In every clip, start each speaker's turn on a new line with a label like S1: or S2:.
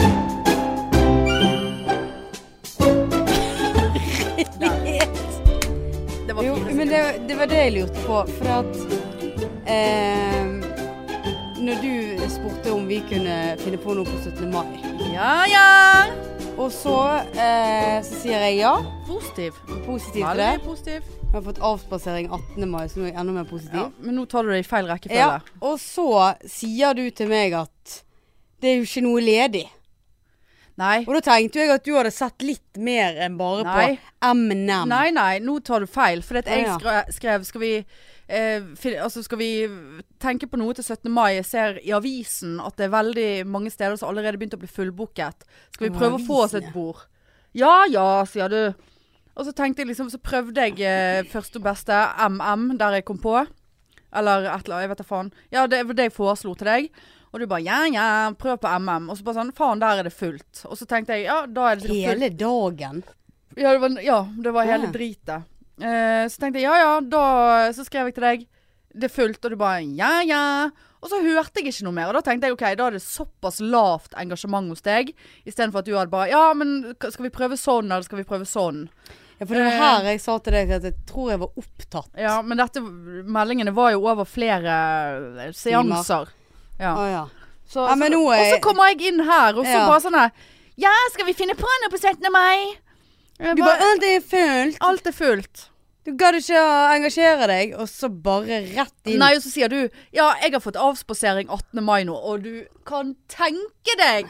S1: var det jeg lurte på. For at eh, Når du spurte om vi kunne finne på noe på 17. mai,
S2: Ja, ja.
S1: og så, eh, så sier jeg ja.
S2: Positiv.
S1: Positiv til det.
S2: Veldig positiv.
S1: Jeg har fått avspasering 18. mai, så nå er jeg enda mer positiv.
S2: Ja, men nå tar du det i feil rekkefølge.
S1: Ja, og så sier du til meg at det er jo ikke noe ledig.
S2: Nei.
S1: Og da tenkte jo jeg at du hadde sett litt mer enn bare
S2: Nei.
S1: på M&M.
S2: Nei, nei, nå tar du feil. For at
S1: Å,
S2: jeg skre- skrev Skal vi eh, fin- Altså skal vi tenke på noe til 17. mai? Jeg ser i avisen at det er veldig mange steder som allerede begynte å bli fullbooket. Skal vi
S1: Å,
S2: prøve å få oss
S1: avisen,
S2: et
S1: ja.
S2: bord? Ja ja, sier du. Og så tenkte jeg liksom Så prøvde jeg eh, første og beste MM der jeg kom på. Eller et eller annet, jeg vet da faen. Ja, det var det jeg foreslo til deg. Og du bare ja ja, prøv på MM. Og så bare sånn faen, der er det fullt. Og så tenkte jeg ja, da er det sikkert fullt.
S1: Hele dagen.
S2: Ja, det var, ja, det var hele
S1: Ja.
S2: dritet. Eh, så tenkte jeg ja ja, da Så skrev jeg til deg. Det er fullt, og du bare ja ja. Og så hørte jeg ikke noe mer. Og da tenkte jeg ok, da er det såpass lavt engasjement hos deg. Istedenfor at du hadde bare ja, men k- skal vi prøve sånn, eller skal vi prøve sånn?
S1: Ja, for det var
S2: Eh.
S1: her jeg sa til deg at jeg tror jeg var opptatt.
S2: Ja, men dette Meldingene var jo over flere eh, seanser. Ja.
S1: Å, ja.
S2: Så,
S1: Ja, men
S2: så,
S1: nå er-
S2: og så kommer jeg inn her, og så
S1: Ja.
S2: bare sånn her Ja, skal vi finne på noe på 17. mai? Jeg «Øh!»
S1: Du bare 'Å, det er fullt'.
S2: Alt er fullt.
S1: Du gadd ikke å engasjere deg, og så bare rett inn.
S2: Nei, og så sier du Ja, jeg har fått avspasering 18. mai nå, og du kan tenke deg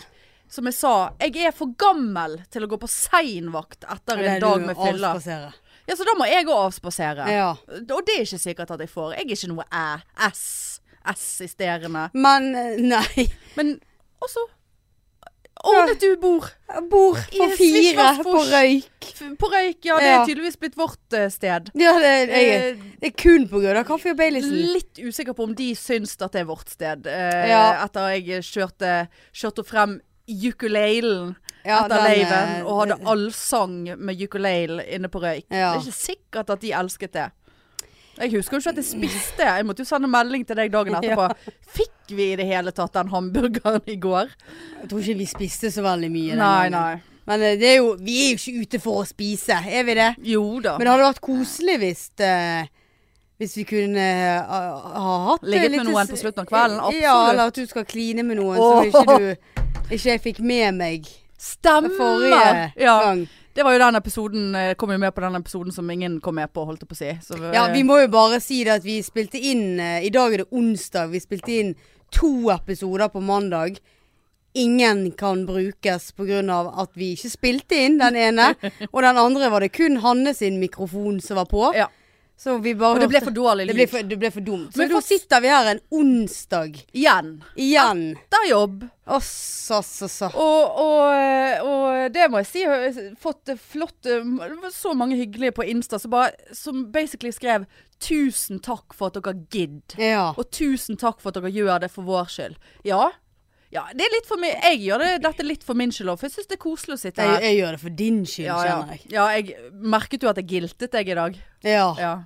S2: Som jeg sa, jeg er for gammel til å gå på seinvakt etter
S1: Det er
S2: en
S1: du
S2: dag med fylla.
S1: avspasere.
S2: Ja, så da må jeg òg avspasere.
S1: Ja.
S2: Og det er ikke sikkert at jeg får. Jeg er ikke noe æ, s, s-isterende.
S1: Men eh, nei.
S2: Men også Ordnet du bord?
S1: Bord
S2: I
S1: på fire på
S2: Svisjvassfors.
S1: røyk.
S2: F- På røyk? Ja, det er
S1: Ja.
S2: tydeligvis blitt vårt eh, sted.
S1: Ja, det, jeg,
S2: Eh,
S1: det er kun på grunn av kaffe og Baileysen.
S2: Litt usikker på om de syns at det er vårt sted. Eh,
S1: Ja.
S2: Etter jeg kjørte, kjørte frem ukulelen
S1: Ja,
S2: etter
S1: den,
S2: laven
S1: eh,
S2: og hadde allsang med ukulele inne på røyk.
S1: Ja.
S2: Det er ikke sikkert at de elsket det. Jeg husker jo ikke at jeg spiste. Jeg måtte jo sende melding til deg dagen etterpå. Fikk vi i det hele tatt den hamburgeren i går?
S1: Jeg tror ikke vi spiste så veldig mye. den
S2: Nei,
S1: gangen.
S2: nei.
S1: Men eh, det er jo, vi er jo ikke ute for å spise, er vi det?
S2: Jo da.
S1: Men det hadde vært koselig hvis, eh, hvis vi kunne eh, ha hatt det
S2: Ligget med
S1: litt-
S2: noen på slutten av kvelden,
S1: Ja,
S2: absolutt.
S1: eller at du skal kline med noen som
S2: Åh.
S1: ikke du ikke jeg fikk med meg
S2: Stemmer!
S1: forrige
S2: ja.
S1: gang.
S2: Det var jo den episoden eh, Kom jo med på den episoden som ingen kom med på, holdt jeg på å si. Så, eh,
S1: Ja, vi må jo bare si det at vi spilte inn eh, I dag er det onsdag. Vi spilte inn to episoder på mandag. Ingen kan brukes pga. at vi ikke spilte inn den ene. Og den andre var det kun Hanne sin mikrofon som var på.
S2: Ja.
S1: Så vi bare
S2: Og det ble for dårlig
S1: det
S2: lyd.
S1: ble for, det ble for dumt. Så
S2: Men
S1: da
S2: fast-
S1: sitter vi her en onsdag
S2: Igjen.
S1: igjen.
S2: Etter jobb.
S1: Asså, asså, asså.
S2: Og, og, og det må jeg si, jeg har fått flott Det var så mange hyggelige på Insta som, bare, som basically skrev 'Tusen takk for at dere gidd'.
S1: Ja.
S2: Og 'tusen takk for at dere gjør det for vår skyld'. Ja. ja det er litt for min, jeg gjør det, dette litt for min skyld òg, for jeg syns det er koselig å sitte
S1: Jeg,
S2: her.
S1: jeg gjør det for din skyld,
S2: Ja,
S1: kjenner
S2: ja.
S1: jeg.
S2: ja, jeg merket jo at jeg giltet deg i dag.
S1: Ja,
S2: Ja.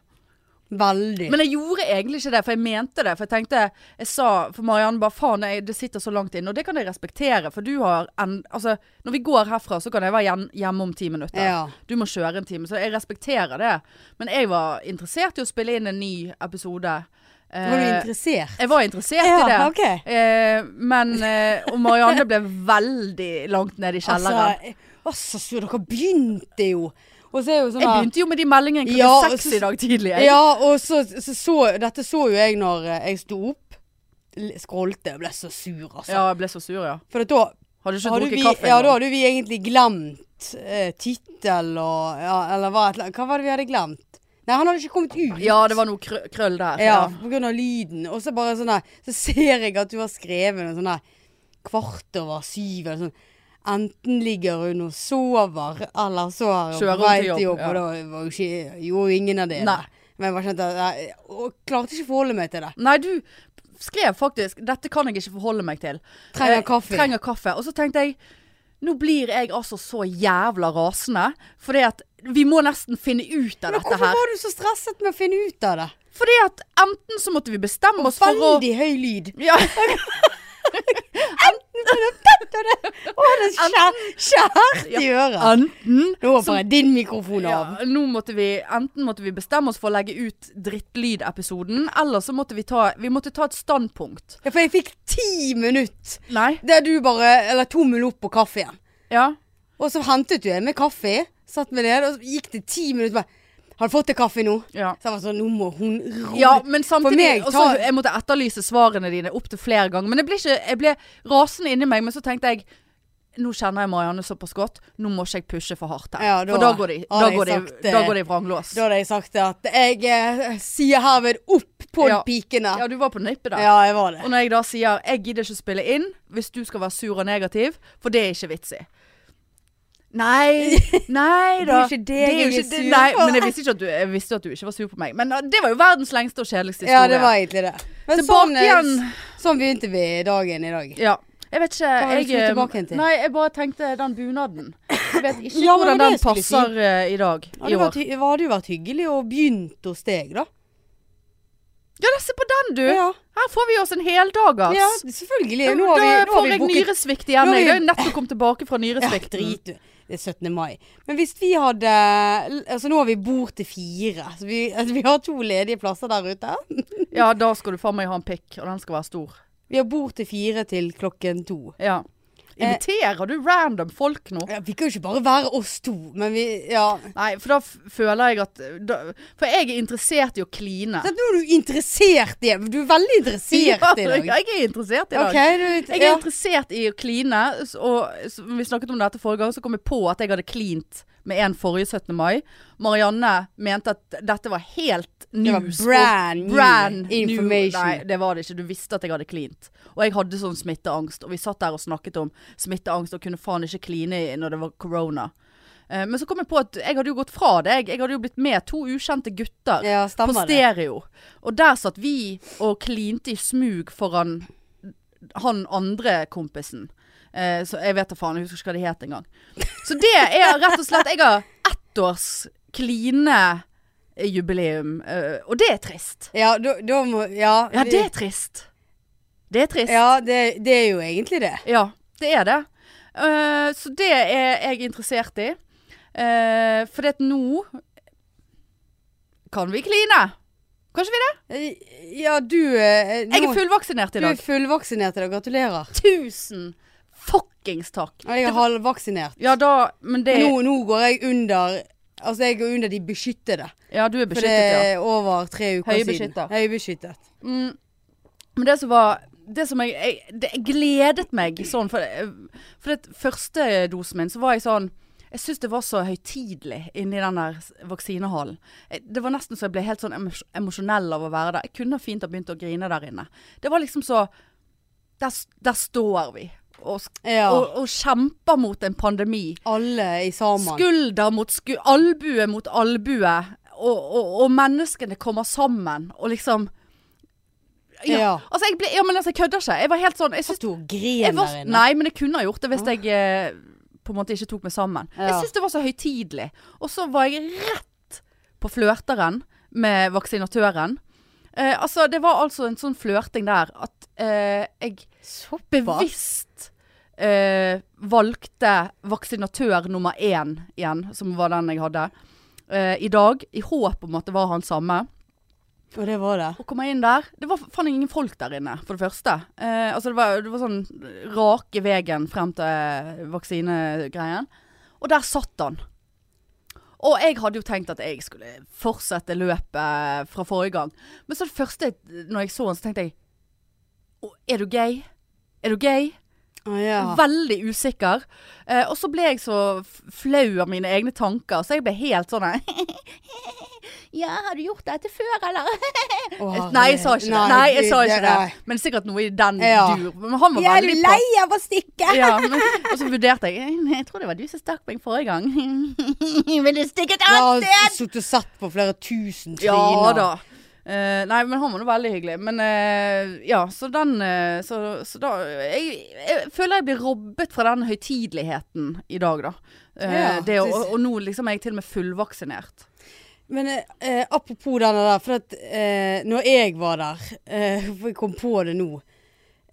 S1: veldig.
S2: Men jeg gjorde egentlig ikke det, for jeg mente det. For jeg tenkte, jeg sa for Marianne bare faen, jeg- det sitter så langt inne. Og det kan jeg respektere, for du har en, Altså, når vi går herfra, så kan jeg være hjem- hjemme om ti minutter.
S1: Ja.
S2: Du må kjøre en time, så jeg respekterer det. Men jeg var interessert i å spille inn en ny episode. Eh,
S1: Var du interessert?
S2: jeg var interessert i det.
S1: Ja, ok.
S2: Eh, men eh, Og Marianne ble veldig langt ned i kjelleren.
S1: Altså, altså så dere begynte jo. Og så er jo sånn
S2: jeg
S1: her-
S2: begynte jo med de meldingene klokka
S1: Ja,
S2: seks
S1: så-
S2: i dag tidlig. Jeg.
S1: Ja, og så, så, så Dette så jo jeg når eh, jeg sto opp. l- Skrolte og ble så sur, altså.
S2: Ja, jeg ble så sur, ja.
S1: For at da
S2: Hadde ikke
S1: hadde
S2: drukket
S1: vi,
S2: kaffe
S1: ja,
S2: engang.
S1: da hadde vi egentlig glemt eh, tittel og ja, Eller hva, et eller annet- hva var det vi hadde glemt? Nei, han hadde ikke kommet ut.
S2: Ja, det var noe krø krøll der.
S1: Ja, på grunn av lyden. Og så bare sånn der Så ser jeg at du har skrevet noe sånn der kvart over syv eller sånn. Enten ligger hun og sover, eller så er hun
S2: Kjører
S1: på
S2: hun
S1: vei
S2: til
S1: til
S2: jobb,
S1: jobb. Og da var jo ikke gjorde jo ingen av det.
S2: Nei.
S1: Men jeg bare kjente at jeg, og klarte ikke å forholde meg til det.
S2: Nei, du skrev faktisk 'Dette kan jeg ikke forholde meg til'.
S1: Trenger
S2: Eh,
S1: kaffe.
S2: Trenger kaffe. Og så tenkte jeg nå blir jeg altså så jævla rasende, fordi at vi må nesten finne ut av
S1: Men
S2: dette
S1: hvorfor
S2: her.
S1: var du så stresset med å finne ut av det?
S2: Fordi at enten så måtte vi bestemme oss for å
S1: Veldig høy lyd.
S2: ja,
S1: Men Å, det er skjær, skjært i øret.
S2: Enten
S1: Nå hopper jeg din mikrofon
S2: ja,
S1: av.
S2: nå måtte vi, Enten måtte vi bestemme oss for å legge ut drittlydepisoden, eller så måtte vi ta Vi måtte ta et standpunkt.
S1: Ja, for jeg fikk ti minutter
S2: Nei?
S1: der du bare Eller tommel opp på kaffen.
S2: Ja.
S1: Og så hentet du en med kaffe. Satt med det, og så gikk det ti minutter. Bare, har du fått deg kaffe nå?
S2: ja.
S1: Så jeg var sånn, nå må hun roe
S2: Ja, men samtidig
S1: meg
S2: også,
S1: tar-
S2: Jeg måtte etterlyse svarene dine opptil flere ganger. Men jeg ble, ikke, jeg ble rasende inni meg, men så tenkte jeg nå kjenner jeg Marianne såpass godt, nå må ikke jeg pushe for hardt her.
S1: Ja, da
S2: for da går det i- da
S1: hadde jeg
S2: går det
S1: sagt,
S2: i-
S1: eh,
S2: da går det i vranglås.
S1: Da hadde jeg sagt at jeg eh, sier herved opp på
S2: Ja.
S1: pikene.
S2: Ja, du var på nippet der.
S1: Ja, jeg var det.
S2: Og når jeg da sier 'jeg gidder ikke å spille inn' hvis du skal være sur og negativ, for det er ikke vits i. Nei, nei da.
S1: Det er jo ikke det
S2: jo
S1: jeg er
S2: ikke
S1: sur
S2: Nei,
S1: på.
S2: men jeg visste, ikke at du, jeg visste at du ikke var sur på meg. Men ah, det var jo verdens lengste og kjedeligste
S1: Ja,
S2: historie.
S1: det var egentlig det. Men
S2: Tilbake
S1: sånn, eh,
S2: igjen.
S1: sånn begynte vi dagen i dag.
S2: Ja. Jeg vet ikke
S1: var det du
S2: jeg, eh,
S1: skulle tilbake igjen til?
S2: Nei, jeg bare tenkte den bunaden. Jeg vet ikke
S1: Ja, men det var
S2: hvordan
S1: det
S2: den
S1: jeg skulle
S2: passer eh, i dag.
S1: Ja,
S2: I
S1: det var,
S2: år.
S1: hy- det hadde jo vært hyggelig å begynt hos deg, da.
S2: Ja, da, se på den, du!
S1: Ja,
S2: Her får vi oss en heldagers.
S1: ja selvfølgelig.
S2: Da,
S1: Nå har vi,
S2: da
S1: nå har
S2: får
S1: vi
S2: jeg
S1: booket
S2: nyresvikt igjen.
S1: Nå har
S2: Jeg
S1: vi-
S2: har jo nettopp kommet tilbake fra
S1: Ja,
S2: nyresvikt.
S1: drit du. Det er 17. mai. Men hvis vi hadde Altså nå har vi bord til fire. Så vi, altså, vi har to ledige plasser der ute.
S2: Ja, da skal du faen meg ha en pikk, og den skal være stor.
S1: Vi har bord til fire til klokken to.
S2: Ja.
S1: Eh.
S2: Inviterer du random folk nå?
S1: Ja, vi kan jo ikke bare være oss to, men vi Ja.
S2: Nei, for da f- føler jeg at da, For jeg er interessert i å kline.
S1: Så nå er du interessert i Du er veldig interessert i
S2: Ja,
S1: dag.
S2: Jeg er interessert i dag.
S1: Ok, du
S2: Jeg er
S1: ja.
S2: interessert i å kline, s- og s- vi snakket om dette forrige gang, så kom jeg på at jeg hadde klint med en forrige 17. mai. Marianne mente at dette var helt
S1: Det var
S2: news. og
S1: brand new information.
S2: Nei, det var det ikke. Du visste at jeg hadde klint. Og jeg hadde sånn smitteangst, og vi satt der og snakket om smitteangst og kunne faen ikke kline i- når det var corona. Eh, Men så kom jeg på at jeg hadde jo gått fra deg. Jeg hadde jo blitt med to ukjente gutter
S1: Ja,
S2: på
S1: stemmer det.
S2: stereo. Og der satt vi og klinte i smug foran han andre kompisen. Eh, så jeg vet da faen, jeg husker ikke hva de het engang. Så det er rett og slett Jeg har ettårs klinejubileum, eh, og det er trist.
S1: Ja, da, da må Ja,
S2: Ja,
S1: vi-
S2: det er trist. Det er trist.
S1: ja det, det er jo egentlig det.
S2: Ja, det er det. Eh, så det er jeg interessert i. Eh, for det at nå kan vi kline. Kanskje vi det?
S1: Ja, du eh,
S2: Jeg
S1: nå-
S2: er fullvaksinert i
S1: Du er
S2: dag.
S1: fullvaksinert i dag. Gratulerer.
S2: Tusen fuckings takk.
S1: Ja, Jeg er halvvaksinert.
S2: Ja da, men det
S1: Nå, nå går jeg under Altså, jeg går under de beskyttede.
S2: Ja, du er
S1: For det
S2: beskyttet, ja.
S1: er over tre uker
S2: Høybeskytta.
S1: siden. Høybeskyttet.
S2: Mm. Men det som var det som jeg, jeg, det, jeg gledet meg sånn For, for det første dosen min, så var jeg sånn Jeg syns det var så høytidelig inni den der s- vaksinehallen. Jeg- Det var nesten så jeg ble helt sånn emos- emosjonell av å være der. Jeg kunne fint ha begynt å grine der inne. Det var liksom så Der, s- der står vi og, sk-
S1: Ja.
S2: og, og kjemper mot en pandemi.
S1: Alle i sammen.
S2: Skulder mot skulder, albue mot albue. Og, og, og menneskene kommer sammen og liksom Ja.
S1: Ja.
S2: Altså, jeg ble, ja men altså, jeg kødder ikke. Jeg var helt sånn jeg synes,
S1: Satt du og gren
S2: jeg var,
S1: der inne?
S2: Nei, men jeg kunne ha gjort det hvis jeg eh, på en måte ikke tok meg sammen. Jeg
S1: Ja.
S2: syns det var så høytidelig. Og så var jeg rett på flørteren med vaksinatøren. Eh, altså, det var altså en sånn flørting der at eh, jeg
S1: Såpass?
S2: bevisst eh, valgte vaksinatør nummer én igjen, som var den jeg hadde, eh, i dag. I håp om at det var han samme.
S1: Og det var det.
S2: Og kommer inn der. Det var faen ingen folk der inne, for det første. Eh, altså det var, det var sånn rake veien frem til eh, vaksinegreien. Og der satt han. Og jeg hadde jo tenkt at jeg skulle fortsette løpet fra forrige gang. Men så det første, når jeg så han, så tenkte jeg «Å, Er du gay? Er du gay?
S1: Å ja.
S2: Veldig usikker. Eh, og så ble jeg så f- flau av mine egne tanker, så jeg ble helt sånn Ja, har du gjort dette før, eller?
S1: Å,
S2: Nei, jeg sa ikke det.
S1: herregud.
S2: Nei, jeg sa ikke
S1: nei.
S2: det. Men sikkert noe i den
S1: Ja.
S2: dur. Men han var
S1: Jeg er
S2: veldig
S1: du
S2: på.
S1: lei av å stikke?
S2: Ja, men, og så vurderte jeg Jeg tror det var du som stakk meg forrige gang. Vil du stikke et
S1: Jeg har
S2: annet sted?
S1: sittet og sett på flere tusen tryner.
S2: Ja da. Eh, nei, men han var nå veldig hyggelig. Men eh, ja, så den eh, så, så da jeg, jeg føler jeg blir robbet fra den høytideligheten i dag, da. Eh,
S1: Ja,
S2: det, og,
S1: det-
S2: og nå liksom er jeg til og med fullvaksinert.
S1: Men eh, eh, apropos denne der, for at eh, når jeg var der, eh, for jeg kom på det nå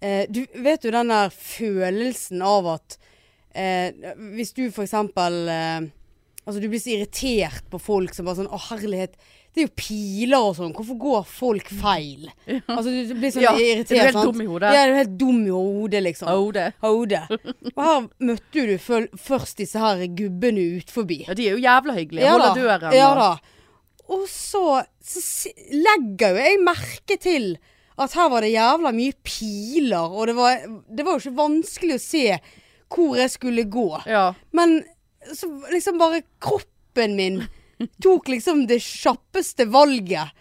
S1: eh, Du vet jo den der følelsen av at eh, Hvis du for eksempel eh, Altså du blir så irritert på folk som bare sånn Å herlighet, det er jo piler og sånn. Hvorfor går folk feil? Altså du du blir sånn
S2: Ja,
S1: irritert.
S2: er du helt
S1: sant?
S2: dum i hodet?
S1: Ja, du er helt dum i hodet, liksom.
S2: Hode.
S1: Hodet. Og her møtte du føl- først disse her gubbene ut forbi.
S2: Ja, de er jo jævla hyggelige. Holder døren
S1: Ja
S2: og-
S1: da. Og så, så si- legger jo jeg merke til at her var det jævla mye piler, og det var, det var jo ikke vanskelig å se hvor jeg skulle gå.
S2: Ja.
S1: Men så liksom bare kroppen min tok liksom det kjappeste valget.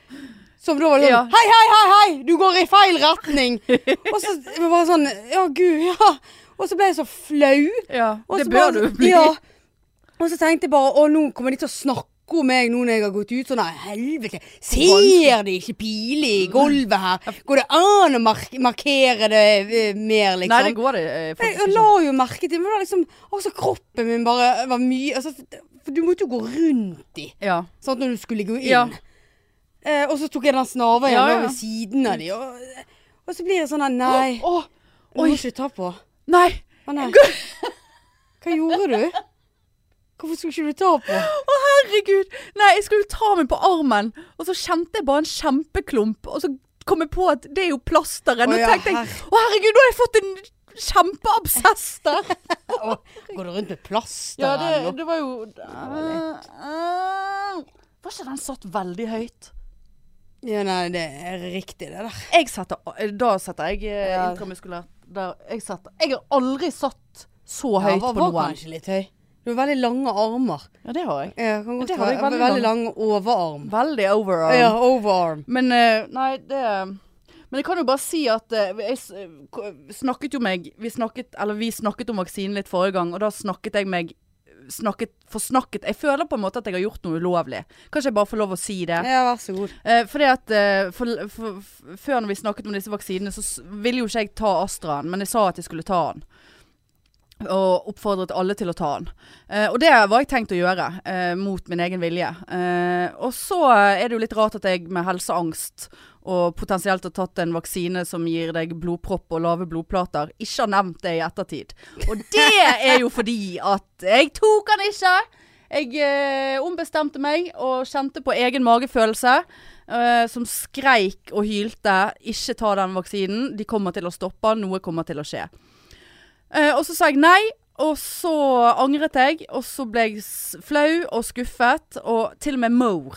S1: Som da var sånn
S2: Ja.
S1: Hei, hei, hei, hei! Du går i feil retning! og så var det sånn Ja, gud, ja. Og så ble jeg så flau.
S2: ja.
S1: Og
S2: Det
S1: så
S2: bør
S1: bare-
S2: du bli.
S1: Ja. Og så tenkte jeg bare å, nå kommer de til å snakke om meg nå når jeg har gått ut. Sånn nei, helvete. Ser de ikke piler i gulvet her? Går det an å mark markere det eh, mer, liksom?
S2: Nei, det går det eh,
S1: jeg,
S2: faktisk ikke.
S1: la jo merke til men det var liksom, altså kroppen min bare var mye altså, For du måtte jo gå rundt de,
S2: sånn. Ja.
S1: sant, når du skulle gå inn.
S2: Ja.
S1: Eh, og så tok jeg den snarveien
S2: Ja,
S1: da
S2: ja.
S1: ved siden av de, og, og så blir det sånn her, nei,
S2: Å,
S1: du må
S2: oi.
S1: ikke ta på.
S2: nei.
S1: Å nei. Hva gjorde du? Hvorfor skulle ikke du ta på?
S2: Å, herregud. Nei, jeg skulle ta meg på armen, og så kjente jeg bare en kjempeklump. Og så kom jeg på at det er jo plasteret. Nå
S1: Å, ja,
S2: tenkte jeg å herregud, nå har jeg fått en kjempeabsess der.
S1: Går du rundt med plaster
S2: Ja,
S1: eller
S2: det,
S1: noe?
S2: det var jo Au. Var ikke den satt veldig høyt?
S1: Ja, nei, det er riktig det der.
S2: Jeg setter, da setter jeg eh,
S1: Ja.
S2: intramuskulært der. Jeg, setter, jeg har aldri satt så
S1: Ja,
S2: høyt
S1: var,
S2: på
S1: var
S2: noen.
S1: kanskje litt høy. Du har veldig lange armer.
S2: Ja, det har jeg.
S1: Ja, kan godt
S2: Det har
S1: være.
S2: jeg veldig
S1: veldig lang overarm.
S2: Veldig overarm.
S1: Ja, overarm.
S2: Men eh, nei, det Men jeg kan jo bare si at eh, jeg s- k- snakket jo meg vi snakket, Eller vi snakket om vaksinen litt forrige gang, og da snakket jeg meg snakket, forsnakket Jeg føler på en måte at jeg har gjort noe ulovlig. Kanskje jeg bare får lov å si det.
S1: Ja, vær så god.
S2: Eh, fordi at eh, for, for, f- Før når vi snakket om disse vaksinene, så s- ville jo ikke jeg ta Astraen, men jeg sa at jeg skulle ta den. Og oppfordret alle til å ta den. Eh, og det var jeg tenkt å gjøre, eh, mot min egen vilje. Eh, og så er det jo litt rart at jeg med helseangst og potensielt har tatt en vaksine som gir deg blodpropp og lave blodplater, ikke har nevnt det i ettertid. Og det er jo fordi at jeg tok den ikke. Jeg eh, ombestemte meg og kjente på egen magefølelse, eh, som skreik og hylte 'ikke ta den vaksinen, de kommer til å stoppe, noe kommer til å skje'. Eh, og så sa jeg nei, og så angret jeg, og så ble jeg s- flau og skuffet, og til og med Moore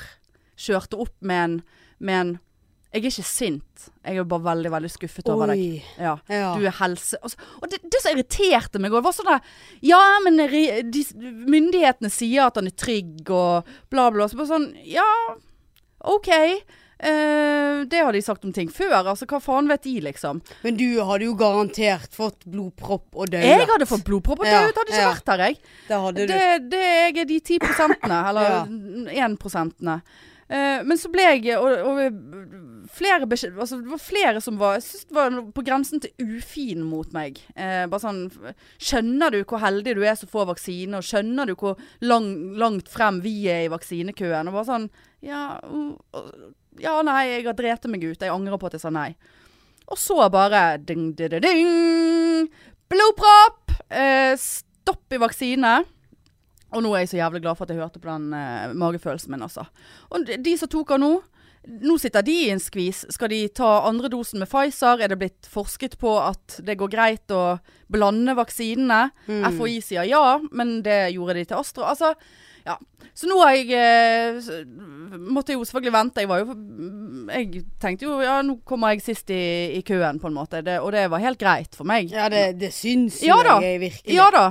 S2: kjørte opp med en, med en 'jeg er ikke sint, jeg er bare veldig, veldig skuffet over deg'.
S1: Oi.
S2: Ja.
S1: Ja.
S2: Du er helse... Altså, og det, det som irriterte meg, også var sånn der Ja, men re- de, myndighetene sier at han er trygg og bla, bla. Så bare sånn Ja, OK. Eh, det har de sagt om ting før. Altså, hva faen vet de, liksom?
S1: Men du hadde jo garantert fått blodpropp og døde.
S2: Jeg hadde fått blodpropp og
S1: Ja,
S2: dødd, hadde ikke
S1: ja.
S2: vært her, jeg.
S1: Det hadde du.
S2: Det, det jeg er de 10 prosentene,
S1: Ja.
S2: eller 1 prosentene. Eh, men så ble jeg og, og flere beskjed, altså, Det var flere som var, jeg synes det var på grensen til ufin mot meg. Eh, bare sånn Skjønner du hvor heldig du er som får vaksine, og skjønner du hvor lang, langt frem vi er i vaksinekøen? Og bare sånn Ja, mm, og- ja nei, jeg har drept meg ut. Jeg angrer på at jeg sa nei. Og så bare ding, ding, ding, ding. Blodpropp! Eh, stopp i vaksine. Og nå er jeg så jævlig glad for at jeg hørte på den eh, magefølelsen min, altså. Og de, de som tok av nå, nå sitter de i en skvis. Skal de ta andre dosen med Pfizer? Er det blitt forsket på at det går greit å blande vaksinene? FHI sier ja, men det gjorde de til Astra. Altså, ja. Så nå har jeg eh, s- Måtte jeg jo selvfølgelig vente. Jeg var jo Jeg tenkte jo ja, nå kommer jeg sist i, i køen, på en måte. Det, og det var helt greit for meg.
S1: Ja, det, det syns jo
S2: Ja da.
S1: jeg virkelig.
S2: Ja da.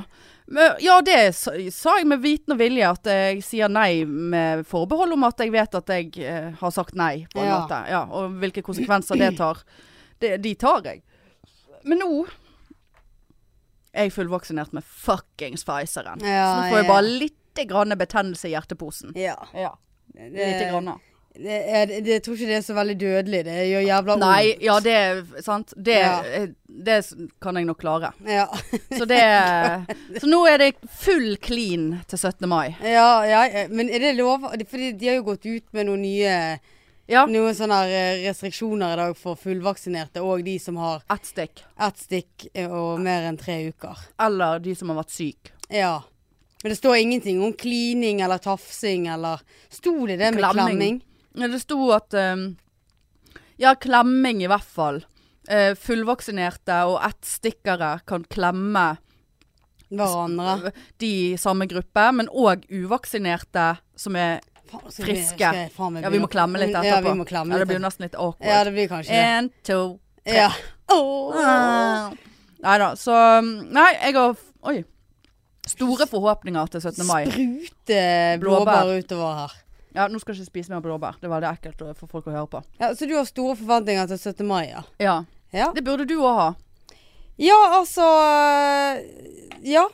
S2: Men- Ja, det sa sa jeg med viten og vilje, at jeg sier nei med forbehold om at jeg vet at jeg eh, har sagt nei, på en
S1: Ja.
S2: måte. Ja, og hvilke konsekvenser det tar. Det, de tar jeg. Men nå er jeg fullvaksinert med fuckings Pfizeren.
S1: Ja,
S2: så nå får jeg
S1: ja.
S2: bare lite grann betennelse i hjerteposen.
S1: Ja.
S2: Ja,
S1: Det,
S2: lite
S1: det,
S2: grann.
S1: er- det, jeg tror ikke det er så veldig dødelig. Det gjør jævla vondt.
S2: Nei, ja, det er sant. Det,
S1: oh.
S2: eh,
S1: Ja.
S2: det kan jeg nok klare.
S1: Ja.
S2: Så det Så nå er det full clean til 17. mai.
S1: eh, Ja, ja, men er det lov? Fordi de har jo gått ut med noen nye
S2: Ja.
S1: noen sånne her, eh, restriksjoner i dag for fullvaksinerte og de som har
S2: Ett stikk.
S1: ett stikk eh, og mer enn tre uker.
S2: Eller de som har vært syk.
S1: Ja. Men det står ingenting om klining eller tafsing eller Sto det det med
S2: Klamming.
S1: klamming?
S2: Ja, det sto at ehm, Ja, klemming i hvert fall. Eh, fullvaksinerte og ettstikkere kan klemme
S1: Hverandre.
S2: de i samme gruppe, men òg uvaksinerte som er
S1: Faen, så
S2: Friske.
S1: skal jeg faen meg
S2: Ja, vi må
S1: begynne-
S2: klemme litt etterpå.
S1: Ja, vi må klemme
S2: Ja, det Eh,
S1: litt
S2: blir jo
S1: etterpå.
S2: nesten litt awkward.
S1: Ja, det blir kanskje det.
S2: En, to
S1: Ja.
S2: Ah,
S1: Åh.
S2: Nei da, så ehm, Nei, jeg har Oi. Store forhåpninger til 17. mai.
S1: Sprute
S2: Blåbær.
S1: blåbær utover her.
S2: Ja, nå skal jeg ikke spise mer blåbær. Det er veldig ekkelt å- for folk å høre på.
S1: Ja, så du har store forventninger til 17. mai, ja?
S2: Ja.
S1: Ja,
S2: Det burde du òg ha.
S1: ja altså Ja.